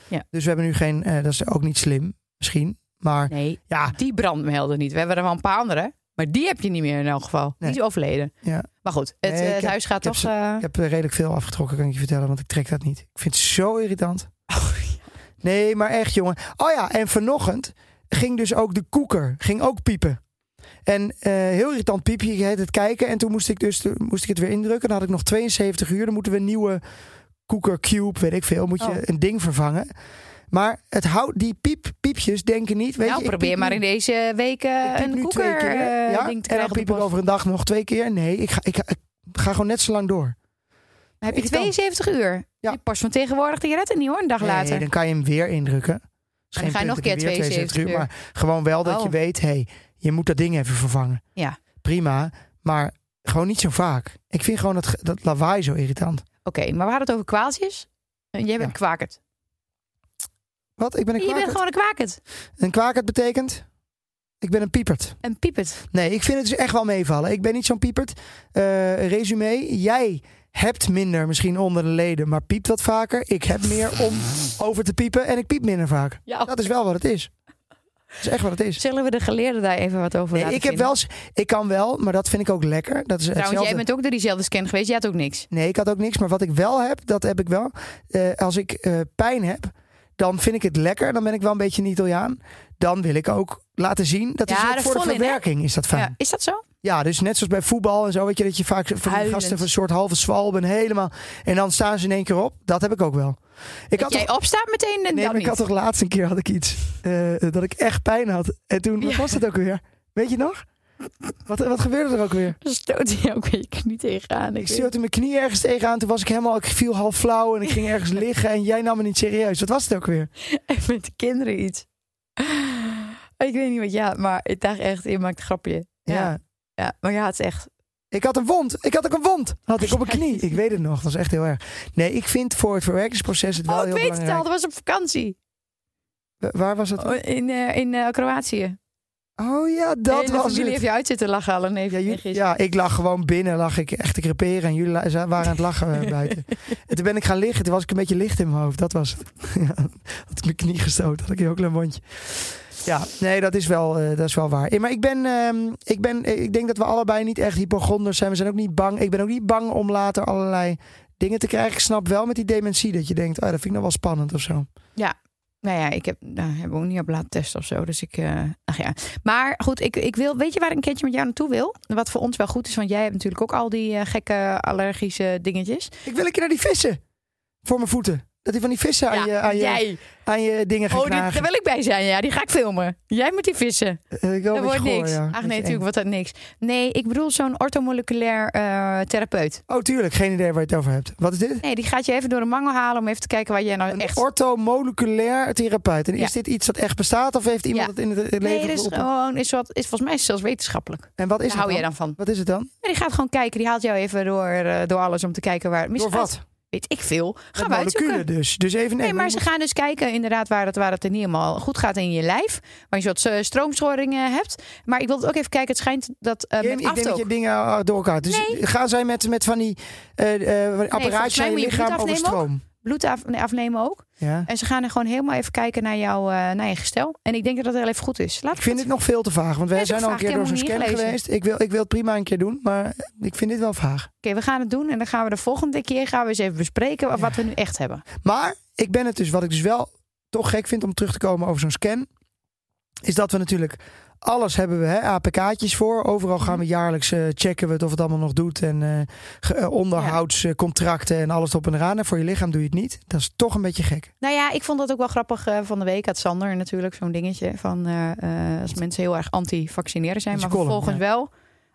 [SPEAKER 3] Ja.
[SPEAKER 1] Dus we hebben nu geen, eh, dat is ook niet slim. misschien. Maar
[SPEAKER 3] Nee,
[SPEAKER 1] ja,
[SPEAKER 3] die brandmelden niet. We hebben er wel een paar andere. Maar die heb je niet meer in elk geval.
[SPEAKER 1] Nee.
[SPEAKER 3] Die is overleden.
[SPEAKER 1] Ja.
[SPEAKER 3] Maar goed, het,
[SPEAKER 1] Nee,
[SPEAKER 3] eh,
[SPEAKER 1] ik
[SPEAKER 3] het
[SPEAKER 1] heb-
[SPEAKER 3] huis gaat
[SPEAKER 1] ik heb
[SPEAKER 3] toch...
[SPEAKER 1] ze-
[SPEAKER 3] eh,
[SPEAKER 1] ik heb er redelijk veel afgetrokken, kan ik je vertellen. Want ik trek dat niet. Ik vind het zo irritant.
[SPEAKER 3] Oh,
[SPEAKER 1] Nee, maar echt, jongen. Oh ja, en vanochtend ging dus ook de koeker ging ook piepen. En eh, heel irritant piepje, ik had het kijken. En toen moest ik, dus, toen moest ik het weer indrukken. Dan had ik nog 72 uur. Dan moeten we een nieuwe koeker cube, weet ik veel. Moet je
[SPEAKER 3] Oh.
[SPEAKER 1] een ding vervangen. Maar het houdt, die piep, piepjes denken niet. Weet
[SPEAKER 3] nou,
[SPEAKER 1] je, ik
[SPEAKER 3] probeer
[SPEAKER 1] piep
[SPEAKER 3] maar
[SPEAKER 1] nu-
[SPEAKER 3] in deze
[SPEAKER 1] ik
[SPEAKER 3] weken
[SPEAKER 1] piep
[SPEAKER 3] een
[SPEAKER 1] nu twee
[SPEAKER 3] koeker
[SPEAKER 1] keer,
[SPEAKER 3] eh,
[SPEAKER 1] ja,
[SPEAKER 3] ding te
[SPEAKER 1] en
[SPEAKER 3] krijgen
[SPEAKER 1] dan
[SPEAKER 3] op de
[SPEAKER 1] piep ik
[SPEAKER 3] post.
[SPEAKER 1] over een dag nog twee keer. Nee, ik ga, ik, ga- ik ga gewoon net zo lang door.
[SPEAKER 3] Heb je
[SPEAKER 1] Ik kan.
[SPEAKER 3] 72 uur?
[SPEAKER 1] Ja.
[SPEAKER 3] Die post van tegenwoordig, die redt het niet hoor, een dag later.
[SPEAKER 1] Nee, dan kan je hem weer indrukken. Is
[SPEAKER 3] dan
[SPEAKER 1] geen
[SPEAKER 3] ga je
[SPEAKER 1] punt
[SPEAKER 3] nog
[SPEAKER 1] dat
[SPEAKER 3] een keer
[SPEAKER 1] weer
[SPEAKER 3] 72 uur.
[SPEAKER 1] Maar gewoon wel dat
[SPEAKER 3] Oh.
[SPEAKER 1] je weet, hé, hey, je moet dat ding even vervangen.
[SPEAKER 3] Ja.
[SPEAKER 1] Prima, maar gewoon niet zo vaak. Ik vind gewoon dat, ge- dat lawaai zo irritant.
[SPEAKER 3] Oké, maar we hadden het over kwaaltjes. Eh, Jij bent
[SPEAKER 1] Ja.
[SPEAKER 3] een kwakert.
[SPEAKER 1] Wat? Ik ben een
[SPEAKER 3] Je bent
[SPEAKER 1] kwakert?
[SPEAKER 3] gewoon een kwakert.
[SPEAKER 1] Een kwakert betekent? Ik ben een piepert.
[SPEAKER 3] Een piepert.
[SPEAKER 1] Nee, ik vind het dus echt wel meevallen. Ik ben niet zo'n piepert. Eh resume, jij hebt minder misschien onder de leden, maar piept wat vaker. Ik heb meer om over te piepen en ik piep minder vaak.
[SPEAKER 3] Ja.
[SPEAKER 1] Dat is wel wat het is. Dat is echt wat het is.
[SPEAKER 3] Zullen we de geleerden daar even wat over
[SPEAKER 1] Nee,
[SPEAKER 3] laten
[SPEAKER 1] ik heb
[SPEAKER 3] vinden?
[SPEAKER 1] wel, eens- ik kan wel, maar dat vind ik ook lekker. Dat is
[SPEAKER 3] Trouwens,
[SPEAKER 1] hetzelfde.
[SPEAKER 3] jij bent ook door diezelfde scan geweest. Jij had ook niks.
[SPEAKER 1] Nee, ik had ook niks, maar wat ik wel heb, dat heb ik wel. Eh, als ik eh, pijn heb, dan vind ik het lekker. Dan ben ik wel een beetje een Italiaan. Dan wil ik ook laten zien. Dat
[SPEAKER 3] Ja,
[SPEAKER 1] is ook
[SPEAKER 3] er
[SPEAKER 1] voor de
[SPEAKER 3] vol in, hè?
[SPEAKER 1] verwerking is dat fijn.
[SPEAKER 3] Ja, is dat zo?
[SPEAKER 1] Ja, dus net zoals bij voetbal en zo, weet je dat je vaak van die
[SPEAKER 3] Huilend.
[SPEAKER 1] gasten van een soort halve zwalben helemaal. En dan staan ze in één keer op. Dat heb ik ook wel. Ik
[SPEAKER 3] dat
[SPEAKER 1] had
[SPEAKER 3] jij
[SPEAKER 1] toch,
[SPEAKER 3] opstaat meteen en
[SPEAKER 1] nee,
[SPEAKER 3] dan
[SPEAKER 1] maar ik
[SPEAKER 3] niet.
[SPEAKER 1] had toch laatst een keer had ik iets eh, dat ik echt pijn had. En toen wat
[SPEAKER 3] Ja.
[SPEAKER 1] was het ook weer. Weet je nog? Wat, wat gebeurde er ook weer?
[SPEAKER 3] Dan stoot hij ook weer je knie tegenaan.
[SPEAKER 1] Ik
[SPEAKER 3] Ik weet-
[SPEAKER 1] stootte mijn knie ergens tegenaan. Toen was ik helemaal, ik viel half flauw en ik ging ergens liggen. En jij nam me niet serieus. Wat was het ook weer?
[SPEAKER 3] En met de kinderen iets. Ik weet niet wat, ja, maar ik dacht echt, je maakt een grapje.
[SPEAKER 1] Ja.
[SPEAKER 3] ja. ja maar ja, het is echt...
[SPEAKER 1] Ik had een wond. Ik had ook een wond. Had ik op mijn knie. Ik weet het nog. Dat was echt heel erg. Nee, ik vind voor het verwerkingsproces het wel
[SPEAKER 3] Oh, ik
[SPEAKER 1] heel
[SPEAKER 3] weet het al,
[SPEAKER 1] belangrijk.
[SPEAKER 3] dat was op vakantie.
[SPEAKER 1] Wa- Waar was dat?
[SPEAKER 3] Oh, in eh, in eh, Kroatië.
[SPEAKER 1] Oh ja, dat
[SPEAKER 3] en de
[SPEAKER 1] was
[SPEAKER 3] familie
[SPEAKER 1] het.
[SPEAKER 3] heeft je uit zitten lachen al een neef
[SPEAKER 1] Ja,
[SPEAKER 3] en
[SPEAKER 1] jullie-
[SPEAKER 3] nichtjes.
[SPEAKER 1] ja, ik lag gewoon binnen, lag ik echt te creperen en jullie la- za- waren aan het lachen eh, buiten. En toen ben ik gaan liggen, toen was ik een beetje licht in mijn hoofd, dat was het. Ja, had ik mijn knie gestoten, had ik een heel klein wondje. Ja, nee, dat is wel, eh, dat is wel waar. Eh, Maar ik ben, ehm, ik ben, eh, ik denk dat we allebei niet echt hypochonders zijn. We zijn ook niet bang. Ik ben ook niet bang om later allerlei dingen te krijgen. Ik snap wel met die dementie dat je denkt, ah, dat vind ik nog wel spannend of zo.
[SPEAKER 3] Nou ja, ik heb, nou, hebben we ook niet op laten testen of zo. Dus ik, eh ach ja. Maar goed, ik, ik wil, weet je waar ik een keertje met jou naartoe wil? Wat voor ons wel goed is, want jij hebt natuurlijk ook al die eh, gekke allergische dingetjes.
[SPEAKER 1] Ik wil een keer naar die vissen voor mijn voeten. Dat die van die vissen aan, je, aan, je,
[SPEAKER 3] jij.
[SPEAKER 1] aan je dingen gaan
[SPEAKER 3] Oh, die,
[SPEAKER 1] knagen.
[SPEAKER 3] daar wil ik bij zijn, ja. Die ga ik filmen. Jij moet die vissen.
[SPEAKER 1] Eh, ik wil
[SPEAKER 3] dat
[SPEAKER 1] een beetje
[SPEAKER 3] wordt
[SPEAKER 1] goor,
[SPEAKER 3] niks.
[SPEAKER 1] ja.
[SPEAKER 3] Ach
[SPEAKER 1] Beetje
[SPEAKER 3] nee,
[SPEAKER 1] eng.
[SPEAKER 3] natuurlijk wordt dat niks. Nee, ik bedoel zo'n orthomoleculair eh, therapeut.
[SPEAKER 1] Oh, tuurlijk. Geen idee waar je het over hebt. Wat is dit?
[SPEAKER 3] Nee, die gaat je even door de mangel halen om even te kijken waar jij nou
[SPEAKER 1] Een
[SPEAKER 3] Oh, echt...
[SPEAKER 1] orthomoleculair therapeut. En
[SPEAKER 3] Ja.
[SPEAKER 1] is dit iets dat echt bestaat of heeft iemand
[SPEAKER 3] Ja.
[SPEAKER 1] het in het leven
[SPEAKER 3] nee, dat is
[SPEAKER 1] geroepen?
[SPEAKER 3] gewoon, is wat, is volgens mij zelfs wetenschappelijk.
[SPEAKER 1] En wat is
[SPEAKER 3] Daar
[SPEAKER 1] het
[SPEAKER 3] hou
[SPEAKER 1] dan?
[SPEAKER 3] jij dan van?
[SPEAKER 1] Wat is het dan?
[SPEAKER 3] Ja, die gaat gewoon kijken. Die haalt jou even door, eh, door alles om te kijken waar het
[SPEAKER 1] Door
[SPEAKER 3] misgaat.
[SPEAKER 1] wat?
[SPEAKER 3] Weet ik veel. Gaan we
[SPEAKER 1] Met moleculen
[SPEAKER 3] uitzoeken.
[SPEAKER 1] dus. Dus even
[SPEAKER 3] Nee, maar ze gaan dus kijken inderdaad waar het, waar het er niet helemaal goed gaat in je lijf. Waar je een soort eh, stroomstoringen hebt. Maar ik wil het ook even kijken. Het schijnt dat eh
[SPEAKER 1] Jim,
[SPEAKER 3] met
[SPEAKER 1] ik denk dat
[SPEAKER 3] aftook...
[SPEAKER 1] je dingen eh, door elkaar. Dus
[SPEAKER 3] Nee.
[SPEAKER 1] gaan zij met, met van die eh, eh, van die
[SPEAKER 3] volgens
[SPEAKER 1] apparaatjes
[SPEAKER 3] mij
[SPEAKER 1] aan
[SPEAKER 3] moet
[SPEAKER 1] je
[SPEAKER 3] je
[SPEAKER 1] lichaam
[SPEAKER 3] bloed
[SPEAKER 1] over
[SPEAKER 3] afnemen Eh,
[SPEAKER 1] stroom?
[SPEAKER 3] Bloed af- nee, afnemen ook.
[SPEAKER 1] Ja.
[SPEAKER 3] En ze gaan er gewoon helemaal even kijken naar, jouw eh, naar je gestel. En ik denk dat dat heel even goed is. Laat
[SPEAKER 1] Ik vind dit nog veel te vaag, want
[SPEAKER 3] Nee,
[SPEAKER 1] wij
[SPEAKER 3] dat
[SPEAKER 1] zijn al een
[SPEAKER 3] vraag
[SPEAKER 1] keer
[SPEAKER 3] ik
[SPEAKER 1] door zo'n
[SPEAKER 3] helemaal
[SPEAKER 1] scan
[SPEAKER 3] niet gelezen.
[SPEAKER 1] geweest. Ik wil, ik wil het prima een keer doen, maar eh, ik vind dit wel vaag.
[SPEAKER 3] Oké, we gaan het doen. En dan gaan we de volgende keer gaan we eens even bespreken wat we nu echt hebben.
[SPEAKER 1] Maar ik ben het dus, wat ik dus wel toch gek vind om terug te komen over zo'n scan, is dat we natuurlijk alles hebben we hè, APK'tjes voor. Overal gaan we jaarlijks eh, checken we het of het allemaal nog doet en eh, ge- eh, onderhoudscontracten en alles op en eraan. En voor je lichaam doe je het niet. Dat is toch een beetje gek.
[SPEAKER 3] Nou ja, ik vond dat ook wel grappig eh, van de week. Had Sander natuurlijk zo'n dingetje van eh, eh, als mensen heel erg anti-vaccineren zijn,
[SPEAKER 1] Met
[SPEAKER 3] maar
[SPEAKER 1] je column,
[SPEAKER 3] vervolgens wel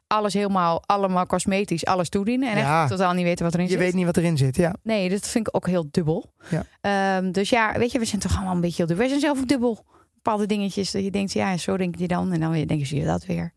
[SPEAKER 3] alles helemaal, allemaal cosmetisch, alles toedienen en
[SPEAKER 1] Ja.
[SPEAKER 3] echt totaal niet weten wat erin
[SPEAKER 1] Je
[SPEAKER 3] zit.
[SPEAKER 1] weet niet wat erin zit. Ja,
[SPEAKER 3] Nee, dat vind ik ook heel dubbel.
[SPEAKER 1] Ja.
[SPEAKER 3] Ehm, dus ja, weet je, we zijn toch allemaal een beetje heel dubbel. We zijn zelf ook dubbel. Bepaalde dingetjes dat je denkt, ja, zo denk je dan en dan weer denken ze je dat weer.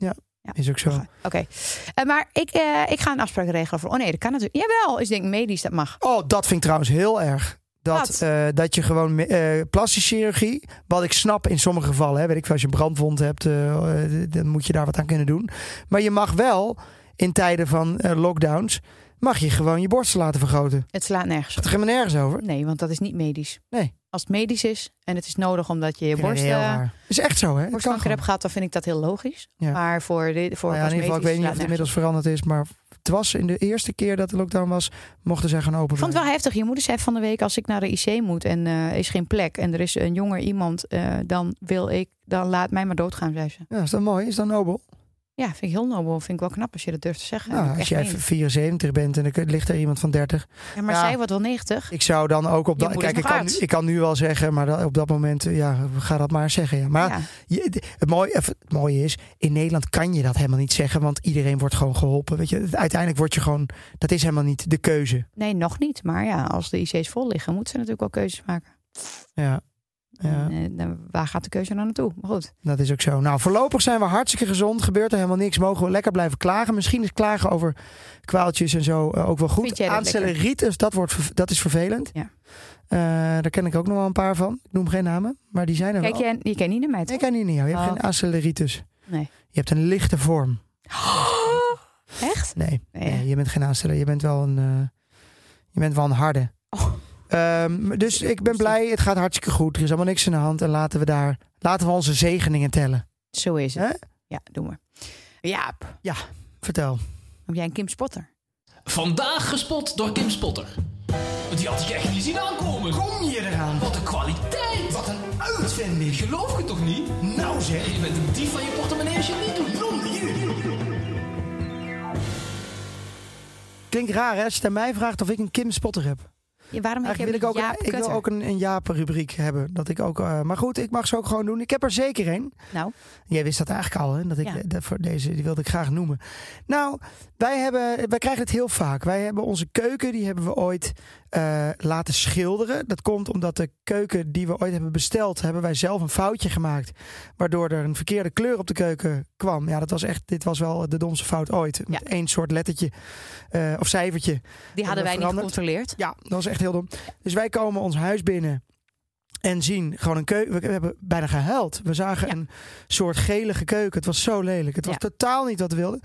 [SPEAKER 1] is ook zo.
[SPEAKER 3] Oké, Eh, maar ik, eh, ik ga een afspraak regelen voor. Oh nee, dat kan natuurlijk. Jawel, is denk ik medisch dat mag.
[SPEAKER 1] Oh, dat vind ik trouwens heel erg. Dat,
[SPEAKER 3] Wat?
[SPEAKER 1] eh, dat je gewoon me- eh plastische chirurgie, wat ik snap in sommige gevallen, hè, weet ik veel, als je een brandwond hebt, eh, eh, dan moet je daar wat aan kunnen doen. Maar je mag wel in tijden van eh, lockdowns, mag je gewoon je borsten laten vergroten.
[SPEAKER 3] Het slaat nergens. op.
[SPEAKER 1] Het gaat helemaal nergens over.
[SPEAKER 3] Nee, want dat is niet medisch.
[SPEAKER 1] Nee.
[SPEAKER 3] als het medisch is en het is nodig omdat je je
[SPEAKER 1] Ik vind
[SPEAKER 3] borst,
[SPEAKER 1] het heel
[SPEAKER 3] eh,
[SPEAKER 1] raar. Is echt zo, hè? Dat kan
[SPEAKER 3] borstkanker
[SPEAKER 1] gewoon.
[SPEAKER 3] hebt gehad, dan vind ik dat heel logisch.
[SPEAKER 1] Ja.
[SPEAKER 3] Maar voor, dit, voor
[SPEAKER 1] Nou ja, in ieder geval, ik
[SPEAKER 3] cosmetisch
[SPEAKER 1] weet niet
[SPEAKER 3] slaat
[SPEAKER 1] of het
[SPEAKER 3] nergens
[SPEAKER 1] inmiddels veranderd is, maar het was in de eerste keer dat de lockdown was, mochten zij gaan open.
[SPEAKER 3] Ik vond het wel heftig. Je moeder zei van de week: als ik naar de IC moet en eh, is geen plek en er is een jonger iemand, eh, dan wil ik, dan laat mij maar doodgaan, zei ze.
[SPEAKER 1] Ja, is dat mooi? Is dat nobel?
[SPEAKER 3] Ja, vind ik heel nobel. Vind ik wel knap als je dat durft te zeggen.
[SPEAKER 1] nou,
[SPEAKER 3] Dat ik
[SPEAKER 1] als
[SPEAKER 3] echt
[SPEAKER 1] jij
[SPEAKER 3] meen.
[SPEAKER 1] 74 bent en er ligt er iemand van 30.
[SPEAKER 3] Ja, maar
[SPEAKER 1] Ja.
[SPEAKER 3] zij wordt wel 90.
[SPEAKER 1] Ik zou dan ook op
[SPEAKER 3] Je
[SPEAKER 1] dat...
[SPEAKER 3] moeder
[SPEAKER 1] Kijk,
[SPEAKER 3] is
[SPEAKER 1] ik
[SPEAKER 3] nog
[SPEAKER 1] kan,
[SPEAKER 3] oud.
[SPEAKER 1] ik kan nu wel zeggen, maar dat- op dat moment, eh, ja, ga dat maar zeggen. Ja. Maar
[SPEAKER 3] Ja.
[SPEAKER 1] je- d- het, mooie, of het mooie is, in Nederland kan je dat helemaal niet zeggen, want iedereen wordt gewoon geholpen. Weet je? Uiteindelijk word je gewoon... Dat is helemaal niet de keuze.
[SPEAKER 3] Nee, nog niet. Maar ja, als de IC's vol liggen, moeten ze natuurlijk wel keuzes maken.
[SPEAKER 1] Ja. Ja.
[SPEAKER 3] En, eh, dan- waar gaat de keuze dan naartoe? Maar goed.
[SPEAKER 1] Dat is ook zo. Nou, voorlopig zijn we hartstikke gezond. Gebeurt er helemaal niks. Mogen we lekker blijven klagen. Misschien is klagen over kwaaltjes en zo eh, ook wel
[SPEAKER 3] Vind
[SPEAKER 1] goed.
[SPEAKER 3] jij dat
[SPEAKER 1] Aanstelleritis, dat, wordt, verv- dat is vervelend.
[SPEAKER 3] Ja.
[SPEAKER 1] Eh, daar ken ik ook nog wel een paar van. Ik noem geen namen, maar die zijn er
[SPEAKER 3] Kijk,
[SPEAKER 1] wel.
[SPEAKER 3] jij, je kent niet naar mij.
[SPEAKER 1] Ik
[SPEAKER 3] toch?
[SPEAKER 1] ken die niet. Je hebt
[SPEAKER 3] Oh.
[SPEAKER 1] geen aanstelleritis.
[SPEAKER 3] Nee.
[SPEAKER 1] Je hebt een lichte vorm.
[SPEAKER 3] Echt?
[SPEAKER 1] Nee,
[SPEAKER 3] Nee.
[SPEAKER 1] nee, je bent geen aansteller. Je bent wel een, eh, je bent wel een harde.
[SPEAKER 3] Oh.
[SPEAKER 1] Ehm, dus ik ben blij. Het gaat hartstikke goed. Er is allemaal niks aan de hand. En laten we, daar, laten we onze zegeningen tellen.
[SPEAKER 3] Zo is het.
[SPEAKER 1] Hè?
[SPEAKER 3] Ja, doe maar. Jaap,
[SPEAKER 1] Vertel.
[SPEAKER 3] heb jij een Kim Spotter?
[SPEAKER 5] Vandaag gespot door Kim Spotter. Die had ik echt niet zien aankomen.
[SPEAKER 1] Kom je eraan?
[SPEAKER 5] Wat een kwaliteit!
[SPEAKER 1] Wat een uitvinding.
[SPEAKER 5] Geloof ik het toch niet?
[SPEAKER 1] Nou zeg.
[SPEAKER 5] Je bent een dief van je portemonnee als je het niet doet.
[SPEAKER 1] Klinkt raar hè, als je het aan mij vraagt of ik een Kim Spotter heb.
[SPEAKER 3] Ja, waarom heb je
[SPEAKER 1] Eigenlijk wil ik ook,
[SPEAKER 3] Jaap
[SPEAKER 1] ik wil
[SPEAKER 3] Kutter?
[SPEAKER 1] ook een, een Jaap-rubriek hebben. Dat ik ook, eh, maar goed, ik mag ze ook gewoon doen. Ik heb er zeker een.
[SPEAKER 3] Nou,
[SPEAKER 1] Jij wist dat eigenlijk al, hè? Dat ik,
[SPEAKER 3] Ja.
[SPEAKER 1] dat voor deze die wilde ik graag noemen. Nou, wij, hebben, wij krijgen het heel vaak. Wij hebben onze keuken, die hebben we ooit eh, laten schilderen. Dat komt omdat de keuken die we ooit hebben besteld, hebben wij zelf een foutje gemaakt. Waardoor er een verkeerde kleur op de keuken kwam. Ja, dat was echt, dit was wel de domste fout ooit. Met één soort lettertje eh, of cijfertje.
[SPEAKER 3] die hadden
[SPEAKER 1] dat
[SPEAKER 3] wij niet
[SPEAKER 1] veranderd?
[SPEAKER 3] gecontroleerd.
[SPEAKER 1] Ja, dat was echt heel dom. Dus wij komen ons huis binnen en zien gewoon een keuken. We hebben bijna gehuild. We zagen
[SPEAKER 3] Ja.
[SPEAKER 1] een soort gelige keuken. Het was zo lelijk. Het was
[SPEAKER 3] Ja.
[SPEAKER 1] totaal niet wat we wilden.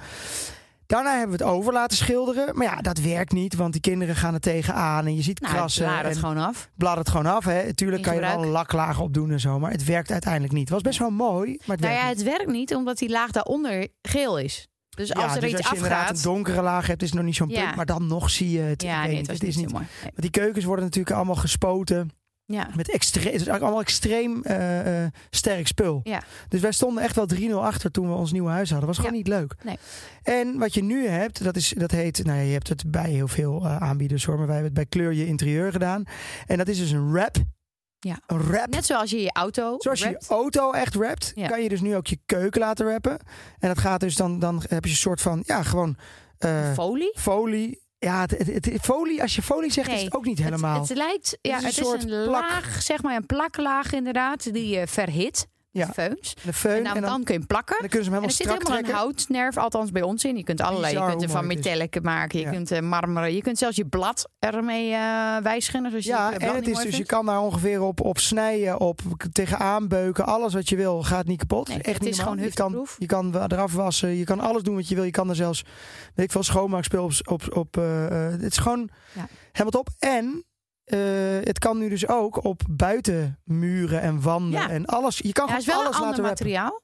[SPEAKER 1] Daarna hebben we het over laten schilderen. Maar ja, dat werkt niet, want die kinderen gaan er tegenaan. En je ziet
[SPEAKER 3] Nou,
[SPEAKER 1] krassen.
[SPEAKER 3] laat het
[SPEAKER 1] en
[SPEAKER 3] gewoon af.
[SPEAKER 1] blad het gewoon af. Hè. Tuurlijk kan je er wel
[SPEAKER 3] Ingebruik.
[SPEAKER 1] een laklaag op doen en zo. Maar het werkt uiteindelijk niet. Het was best wel mooi, maar het
[SPEAKER 3] Nou
[SPEAKER 1] werkt
[SPEAKER 3] ja,
[SPEAKER 1] niet.
[SPEAKER 3] het werkt niet omdat die laag daaronder geel is. Dus als
[SPEAKER 1] ja,
[SPEAKER 3] er
[SPEAKER 1] dus
[SPEAKER 3] iets
[SPEAKER 1] als je inderdaad
[SPEAKER 3] afgaat...
[SPEAKER 1] een donkere laag hebt, is het nog niet zo'n
[SPEAKER 3] Ja.
[SPEAKER 1] punt. Maar dan nog zie je het. Ik
[SPEAKER 3] Ja,
[SPEAKER 1] weet
[SPEAKER 3] nee,
[SPEAKER 1] niet,
[SPEAKER 3] het was niet zo mooi. Nee.
[SPEAKER 1] Want die keukens worden natuurlijk allemaal gespoten.
[SPEAKER 3] Ja.
[SPEAKER 1] Met extreem, het is eigenlijk allemaal extreem eh, eh, sterk spul.
[SPEAKER 3] Ja.
[SPEAKER 1] Dus wij stonden echt wel 3-0 achter toen we ons nieuwe huis hadden. Was gewoon
[SPEAKER 3] Ja.
[SPEAKER 1] niet leuk.
[SPEAKER 3] Nee.
[SPEAKER 1] En wat je nu hebt, dat, is, dat heet, nou ja, je hebt het bij heel veel eh, aanbieders hoor, maar wij hebben het bij Kleur Je Interieur gedaan. En dat is dus een wrap.
[SPEAKER 3] Ja.
[SPEAKER 1] Een wrap.
[SPEAKER 3] Net zoals je je auto
[SPEAKER 1] Zoals je
[SPEAKER 3] wrapt.
[SPEAKER 1] je auto echt rapt,
[SPEAKER 3] Ja.
[SPEAKER 1] kan je dus nu ook je keuken laten rappen. En dat gaat dus dan, dan heb je een soort van, ja, gewoon eh,
[SPEAKER 3] folie.
[SPEAKER 1] folie. Ja, het, het- het- folie, als je folie zegt, is
[SPEAKER 3] Nee,
[SPEAKER 1] het ook niet
[SPEAKER 3] Het-
[SPEAKER 1] helemaal.
[SPEAKER 3] Het, lijkt, ja, het
[SPEAKER 1] is een
[SPEAKER 3] is
[SPEAKER 1] soort
[SPEAKER 3] een
[SPEAKER 1] plak.
[SPEAKER 3] laag, zeg maar een plaklaag inderdaad, die je verhit.
[SPEAKER 1] Ja.
[SPEAKER 3] Ja. Feuns.
[SPEAKER 1] de feun.
[SPEAKER 3] En
[SPEAKER 1] En
[SPEAKER 3] dan,
[SPEAKER 1] dan,
[SPEAKER 3] dan kun je hem plakken.
[SPEAKER 1] dan kunnen ze hem
[SPEAKER 3] En er
[SPEAKER 1] helemaal
[SPEAKER 3] zit
[SPEAKER 1] strak
[SPEAKER 3] helemaal een
[SPEAKER 1] trekken.
[SPEAKER 3] houtnerf, althans bij ons in. Je kunt allerlei,
[SPEAKER 1] Bizar
[SPEAKER 3] je kunt er
[SPEAKER 1] hoe
[SPEAKER 3] van
[SPEAKER 1] mooi het is.
[SPEAKER 3] metallic maken, je
[SPEAKER 1] Ja.
[SPEAKER 3] kunt eh, marmeren, je kunt zelfs je blad ermee eh wijschinnen. Zoals je
[SPEAKER 1] Ja,
[SPEAKER 3] je blad
[SPEAKER 1] en
[SPEAKER 3] niet
[SPEAKER 1] het is
[SPEAKER 3] mooi
[SPEAKER 1] dus, je
[SPEAKER 3] vindt.
[SPEAKER 1] kan daar ongeveer op, op snijden, op k- tegenaan beuken. Alles wat je wil gaat niet kapot.
[SPEAKER 3] Nee,
[SPEAKER 1] Echt
[SPEAKER 3] het
[SPEAKER 1] niet
[SPEAKER 3] is
[SPEAKER 1] normaal.
[SPEAKER 3] gewoon hufteproof.
[SPEAKER 1] Je kan, je kan eraf wassen, je kan alles doen wat je wil. Je kan er zelfs, weet ik veel, schoonmaakspul op... op, op eh, eh, het is gewoon
[SPEAKER 3] Ja.
[SPEAKER 1] helemaal top. En eh, het kan nu dus ook op buitenmuren en wanden
[SPEAKER 3] Ja.
[SPEAKER 1] en alles. Je kan
[SPEAKER 3] Ja, het is
[SPEAKER 1] gewoon
[SPEAKER 3] wel een
[SPEAKER 1] alles
[SPEAKER 3] ander
[SPEAKER 1] laten rappen.
[SPEAKER 3] materiaal.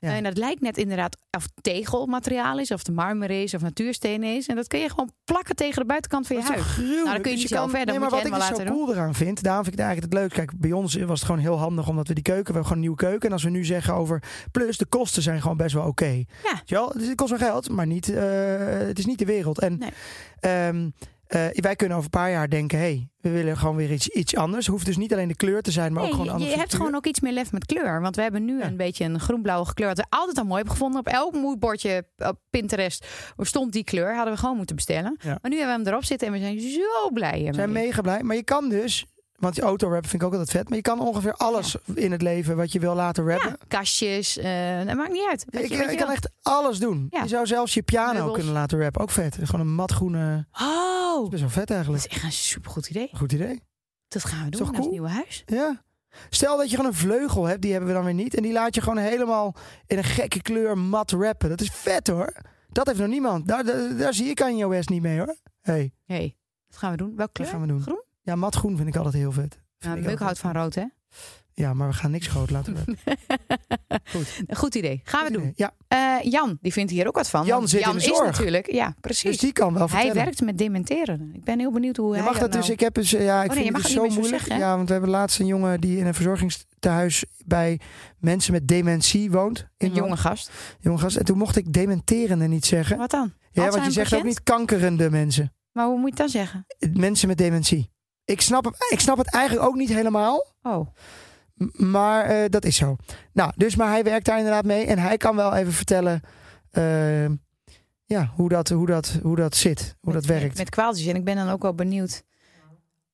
[SPEAKER 3] Eh,
[SPEAKER 1] Ja.
[SPEAKER 3] En dat lijkt net inderdaad of het tegelmateriaal is, of de marmer is, of natuursteen is. En dat kun je gewoon plakken tegen de buitenkant van je
[SPEAKER 1] Dat is
[SPEAKER 3] huis.
[SPEAKER 1] toch gruwelijk?
[SPEAKER 3] Nou, dat kun je
[SPEAKER 1] Dus
[SPEAKER 3] niet zelf,
[SPEAKER 1] kan-
[SPEAKER 3] hè? Dat
[SPEAKER 1] nee,
[SPEAKER 3] moet
[SPEAKER 1] maar
[SPEAKER 3] je
[SPEAKER 1] wat ik
[SPEAKER 3] helemaal
[SPEAKER 1] dus zo
[SPEAKER 3] laten
[SPEAKER 1] cool eraan vind, daarom vind ik het eigenlijk het leuk. Kijk, bij ons was het gewoon heel handig, omdat we die keuken, we hebben gewoon een nieuwe keuken. En als we nu zeggen over, plus de kosten zijn gewoon best wel oké. Weet je wel? Dus het kost wel geld, maar niet, eh, het is niet de wereld. En
[SPEAKER 3] Nee.
[SPEAKER 1] ehm, eh, wij kunnen over een paar jaar denken, hé, hey, we willen gewoon weer iets, iets anders. Hoeft dus niet alleen de kleur te zijn, maar ook
[SPEAKER 3] Nee,
[SPEAKER 1] gewoon een
[SPEAKER 3] je
[SPEAKER 1] andere
[SPEAKER 3] hebt
[SPEAKER 1] structuur.
[SPEAKER 3] gewoon ook iets meer lef met kleur. Want we hebben nu
[SPEAKER 1] Ja.
[SPEAKER 3] een beetje een groenblauwe kleur. Wat we altijd al mooi hebben gevonden. Op elk moodbordje op Pinterest stond die kleur. Hadden we gewoon moeten bestellen.
[SPEAKER 1] Ja.
[SPEAKER 3] Maar nu hebben we hem erop zitten en we zijn zo blij
[SPEAKER 1] We
[SPEAKER 3] hiermee.
[SPEAKER 1] zijn mega blij. Maar je kan dus, want die autorap vind ik ook altijd vet, maar je kan ongeveer alles in het leven wat je wil laten rappen.
[SPEAKER 3] Ja, kastjes. eh, dat maakt niet uit. Weet
[SPEAKER 1] ik
[SPEAKER 3] je,
[SPEAKER 1] eh,
[SPEAKER 3] wat je
[SPEAKER 1] ik kan
[SPEAKER 3] wil.
[SPEAKER 1] echt alles doen.
[SPEAKER 3] Ja.
[SPEAKER 1] Je zou zelfs je piano
[SPEAKER 3] Meubels.
[SPEAKER 1] kunnen laten rappen. Ook vet. Gewoon een matgroene.
[SPEAKER 3] Oh,
[SPEAKER 1] Best wel vet
[SPEAKER 3] dat
[SPEAKER 1] eigenlijk.
[SPEAKER 3] is echt een supergoed idee.
[SPEAKER 1] Goed idee.
[SPEAKER 3] Dat gaan we
[SPEAKER 1] Is
[SPEAKER 3] doen
[SPEAKER 1] toch
[SPEAKER 3] naar het
[SPEAKER 1] cool?
[SPEAKER 3] nieuwe huis.
[SPEAKER 1] Ja. Stel dat je gewoon een vleugel hebt, die hebben we dan weer niet. En die laat je gewoon helemaal in een gekke kleur mat rappen. Dat is vet hoor. Dat heeft nog niemand. Daar, daar, daar zie ik Kanye West niet mee hoor. Hey,
[SPEAKER 3] hey, dat gaan we doen. Welke
[SPEAKER 1] dat
[SPEAKER 3] kleur?
[SPEAKER 1] gaan we doen.
[SPEAKER 3] Groen?
[SPEAKER 1] Ja, matgroen vind ik altijd heel vet.
[SPEAKER 3] Nou,
[SPEAKER 1] ik
[SPEAKER 3] Muk
[SPEAKER 1] ook.
[SPEAKER 3] houdt van rood, hè?
[SPEAKER 1] Ja, maar we gaan niks groot laten worden. Goed.
[SPEAKER 3] Goed idee. Gaan we doen.
[SPEAKER 1] Ja, dus
[SPEAKER 3] Eh, Jan, die vindt hier ook wat van.
[SPEAKER 1] Jan
[SPEAKER 3] Want
[SPEAKER 1] zit in de
[SPEAKER 3] is
[SPEAKER 1] zorg.
[SPEAKER 3] natuurlijk. Ja, precies.
[SPEAKER 1] dus die kan wel
[SPEAKER 3] hij
[SPEAKER 1] vertellen.
[SPEAKER 3] werkt met dementeren. Ik ben heel benieuwd hoe
[SPEAKER 1] Je
[SPEAKER 3] hij
[SPEAKER 1] mag dat
[SPEAKER 3] nou-
[SPEAKER 1] dus. Ik heb dus, eh, ja, ik
[SPEAKER 3] Oh, nee, je
[SPEAKER 1] vind
[SPEAKER 3] mag
[SPEAKER 1] het dus
[SPEAKER 3] het
[SPEAKER 1] zo
[SPEAKER 3] niet meer zo
[SPEAKER 1] moeilijk.
[SPEAKER 3] zeggen, hè?
[SPEAKER 1] ja, want we hebben laatst een jongen die in een verzorgingstehuis bij mensen met dementie woont.
[SPEAKER 3] Een jonge
[SPEAKER 1] gast.
[SPEAKER 3] gast.
[SPEAKER 1] jonge gast. En toen mocht ik dementerende niet zeggen.
[SPEAKER 3] Wat dan?
[SPEAKER 1] ja, want je
[SPEAKER 3] Alzheimer
[SPEAKER 1] zegt ook
[SPEAKER 3] patiënt?
[SPEAKER 1] niet kankerende mensen.
[SPEAKER 3] Maar hoe moet je het dan zeggen?
[SPEAKER 1] Mensen met dementie. Ik snap, het- ik snap het eigenlijk ook niet helemaal.
[SPEAKER 3] Oh,
[SPEAKER 1] M- Maar eh, dat is zo. Nou, dus maar hij werkt daar inderdaad mee. En hij kan wel even vertellen eh, ja, hoe, dat, hoe, dat, hoe dat zit. Hoe dat
[SPEAKER 3] met,
[SPEAKER 1] werkt.
[SPEAKER 3] Met kwaaltjes. En ik ben dan ook wel benieuwd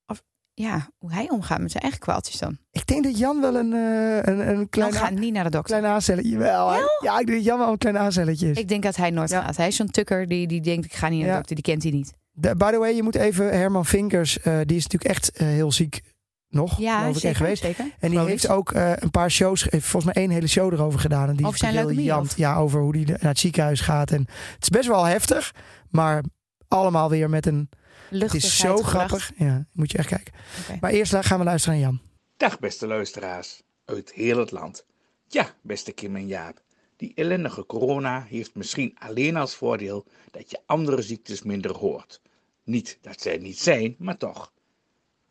[SPEAKER 3] of, ja, hoe hij omgaat met zijn eigen kwaaltjes dan.
[SPEAKER 1] Ik denk dat Jan wel een, eh, een, een
[SPEAKER 3] Dan
[SPEAKER 1] klein,
[SPEAKER 3] gaat niet naar de dokter.
[SPEAKER 1] klein aanzelletje... Jawel, hij-
[SPEAKER 3] Wel?
[SPEAKER 1] Ja, ik denk dat Jan wel een klein aanzelletje is.
[SPEAKER 3] Ik denk dat hij nooit
[SPEAKER 1] Ja.
[SPEAKER 3] gaat. Hij is zo'n tukker die, die denkt, ik ga niet naar de
[SPEAKER 1] Ja.
[SPEAKER 3] dokter. Die kent hij niet.
[SPEAKER 1] De- by the way, je moet even Herman Vinkers... eh, die is natuurlijk echt eh, heel ziek nog,
[SPEAKER 3] Ja,
[SPEAKER 1] geloof ik,
[SPEAKER 3] zeker,
[SPEAKER 1] en geweest.
[SPEAKER 3] zeker.
[SPEAKER 1] En die
[SPEAKER 3] Geloof
[SPEAKER 1] heeft
[SPEAKER 3] ik.
[SPEAKER 1] ook eh, een paar shows, eh, volgens mij één hele show erover gedaan. En die
[SPEAKER 3] Over
[SPEAKER 1] is
[SPEAKER 3] zijn
[SPEAKER 1] natuurlijk heel
[SPEAKER 3] leukemie,
[SPEAKER 1] jant, Ja, over hoe die de- naar het ziekenhuis gaat. En het is best wel heftig, maar allemaal weer met een... Het is zo
[SPEAKER 3] Luchtigheid gebracht.
[SPEAKER 1] grappig. Ja, moet je echt kijken.
[SPEAKER 3] Oké.
[SPEAKER 1] Maar eerst la- gaan we luisteren naar Jan.
[SPEAKER 6] Dag beste luisteraars uit heel het land. Ja, beste Kim en Jaap. Die ellendige corona heeft misschien alleen als voordeel dat je andere ziektes minder hoort. Niet dat zij er niet zijn, maar toch.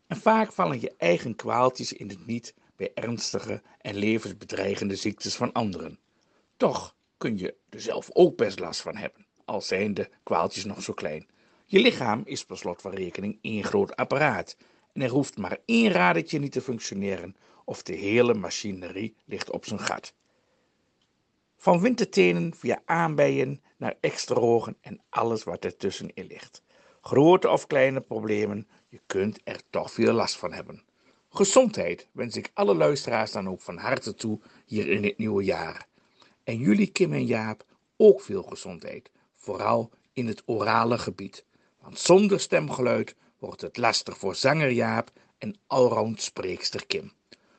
[SPEAKER 6] En vaak vallen je eigen kwaaltjes in het niet bij ernstige en levensbedreigende ziektes van anderen. Toch kun je er zelf ook best last van hebben, al zijn de kwaaltjes nog zo klein. Je lichaam is per slot van rekening één groot apparaat en er hoeft maar één radertje niet te functioneren of de hele machinerie ligt op zijn gat. Van wintertenen via aanbijen naar extra ogen en alles wat ertussenin ligt. Grote of kleine problemen, je kunt er toch veel last van hebben. Gezondheid wens ik alle luisteraars dan ook van harte toe hier in dit nieuwe jaar. En jullie, Kim en Jaap, ook veel gezondheid. Vooral in het orale gebied. Want zonder stemgeluid wordt het lastig voor zanger Jaap en allround spreekster Kim.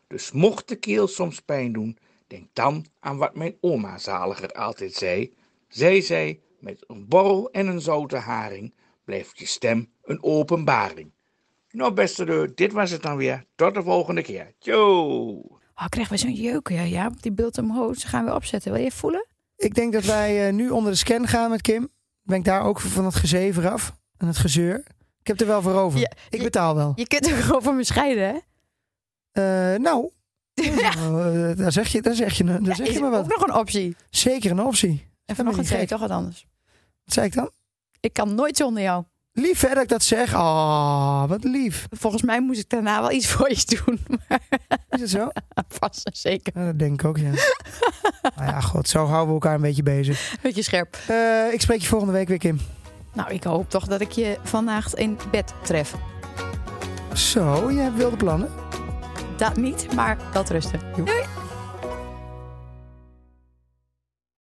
[SPEAKER 6] Dus mocht de keel soms pijn doen, denk dan aan wat mijn oma zaliger altijd zei. Zij zei, met een borrel en een zoute haring blijft je stem een openbaring. Nou beste deur, dit was het dan weer. Tot de volgende keer. Tjoe!
[SPEAKER 3] Oh, ik krijg weer zo'n jeuk. Ja, ja, die beeld omhoog. Ze gaan weer opzetten. Wil je voelen?
[SPEAKER 1] Ik denk dat wij eh, nu onder de scan gaan met Kim. Ben ik daar ook van het gezever af en het gezeur. Ik heb er wel voor over.
[SPEAKER 3] Ja,
[SPEAKER 1] ik
[SPEAKER 3] je-
[SPEAKER 1] betaal wel.
[SPEAKER 3] Je kunt er gewoon van me scheiden, hè?
[SPEAKER 1] Eh, nou, eh, daar zeg je, daar zeg je, daar
[SPEAKER 3] Ja,
[SPEAKER 1] zeg
[SPEAKER 3] is
[SPEAKER 1] je me wat.
[SPEAKER 3] ook nog een optie.
[SPEAKER 1] Zeker een optie.
[SPEAKER 3] En
[SPEAKER 1] ben ik
[SPEAKER 3] vanochtend
[SPEAKER 1] niet
[SPEAKER 3] zei je
[SPEAKER 1] gek.
[SPEAKER 3] toch wat anders.
[SPEAKER 1] Wat zei ik dan?
[SPEAKER 3] Ik kan nooit zonder jou.
[SPEAKER 1] Lief hè, dat ik dat zeg. Ah, wat lief.
[SPEAKER 3] Volgens mij moest ik daarna wel iets voor je doen. Maar
[SPEAKER 1] Is het zo?
[SPEAKER 3] vast en zeker.
[SPEAKER 1] Ja, dat denk ik ook, ja. Maar ja, god, zo houden we elkaar een beetje bezig.
[SPEAKER 3] Beetje scherp.
[SPEAKER 1] Eh, ik spreek je volgende week weer, Kim.
[SPEAKER 3] Nou, ik hoop toch dat ik je vannacht in bed tref.
[SPEAKER 1] Zo, je hebt wilde plannen.
[SPEAKER 3] Dat niet, maar wel rusten.
[SPEAKER 1] Jo.
[SPEAKER 3] Doei.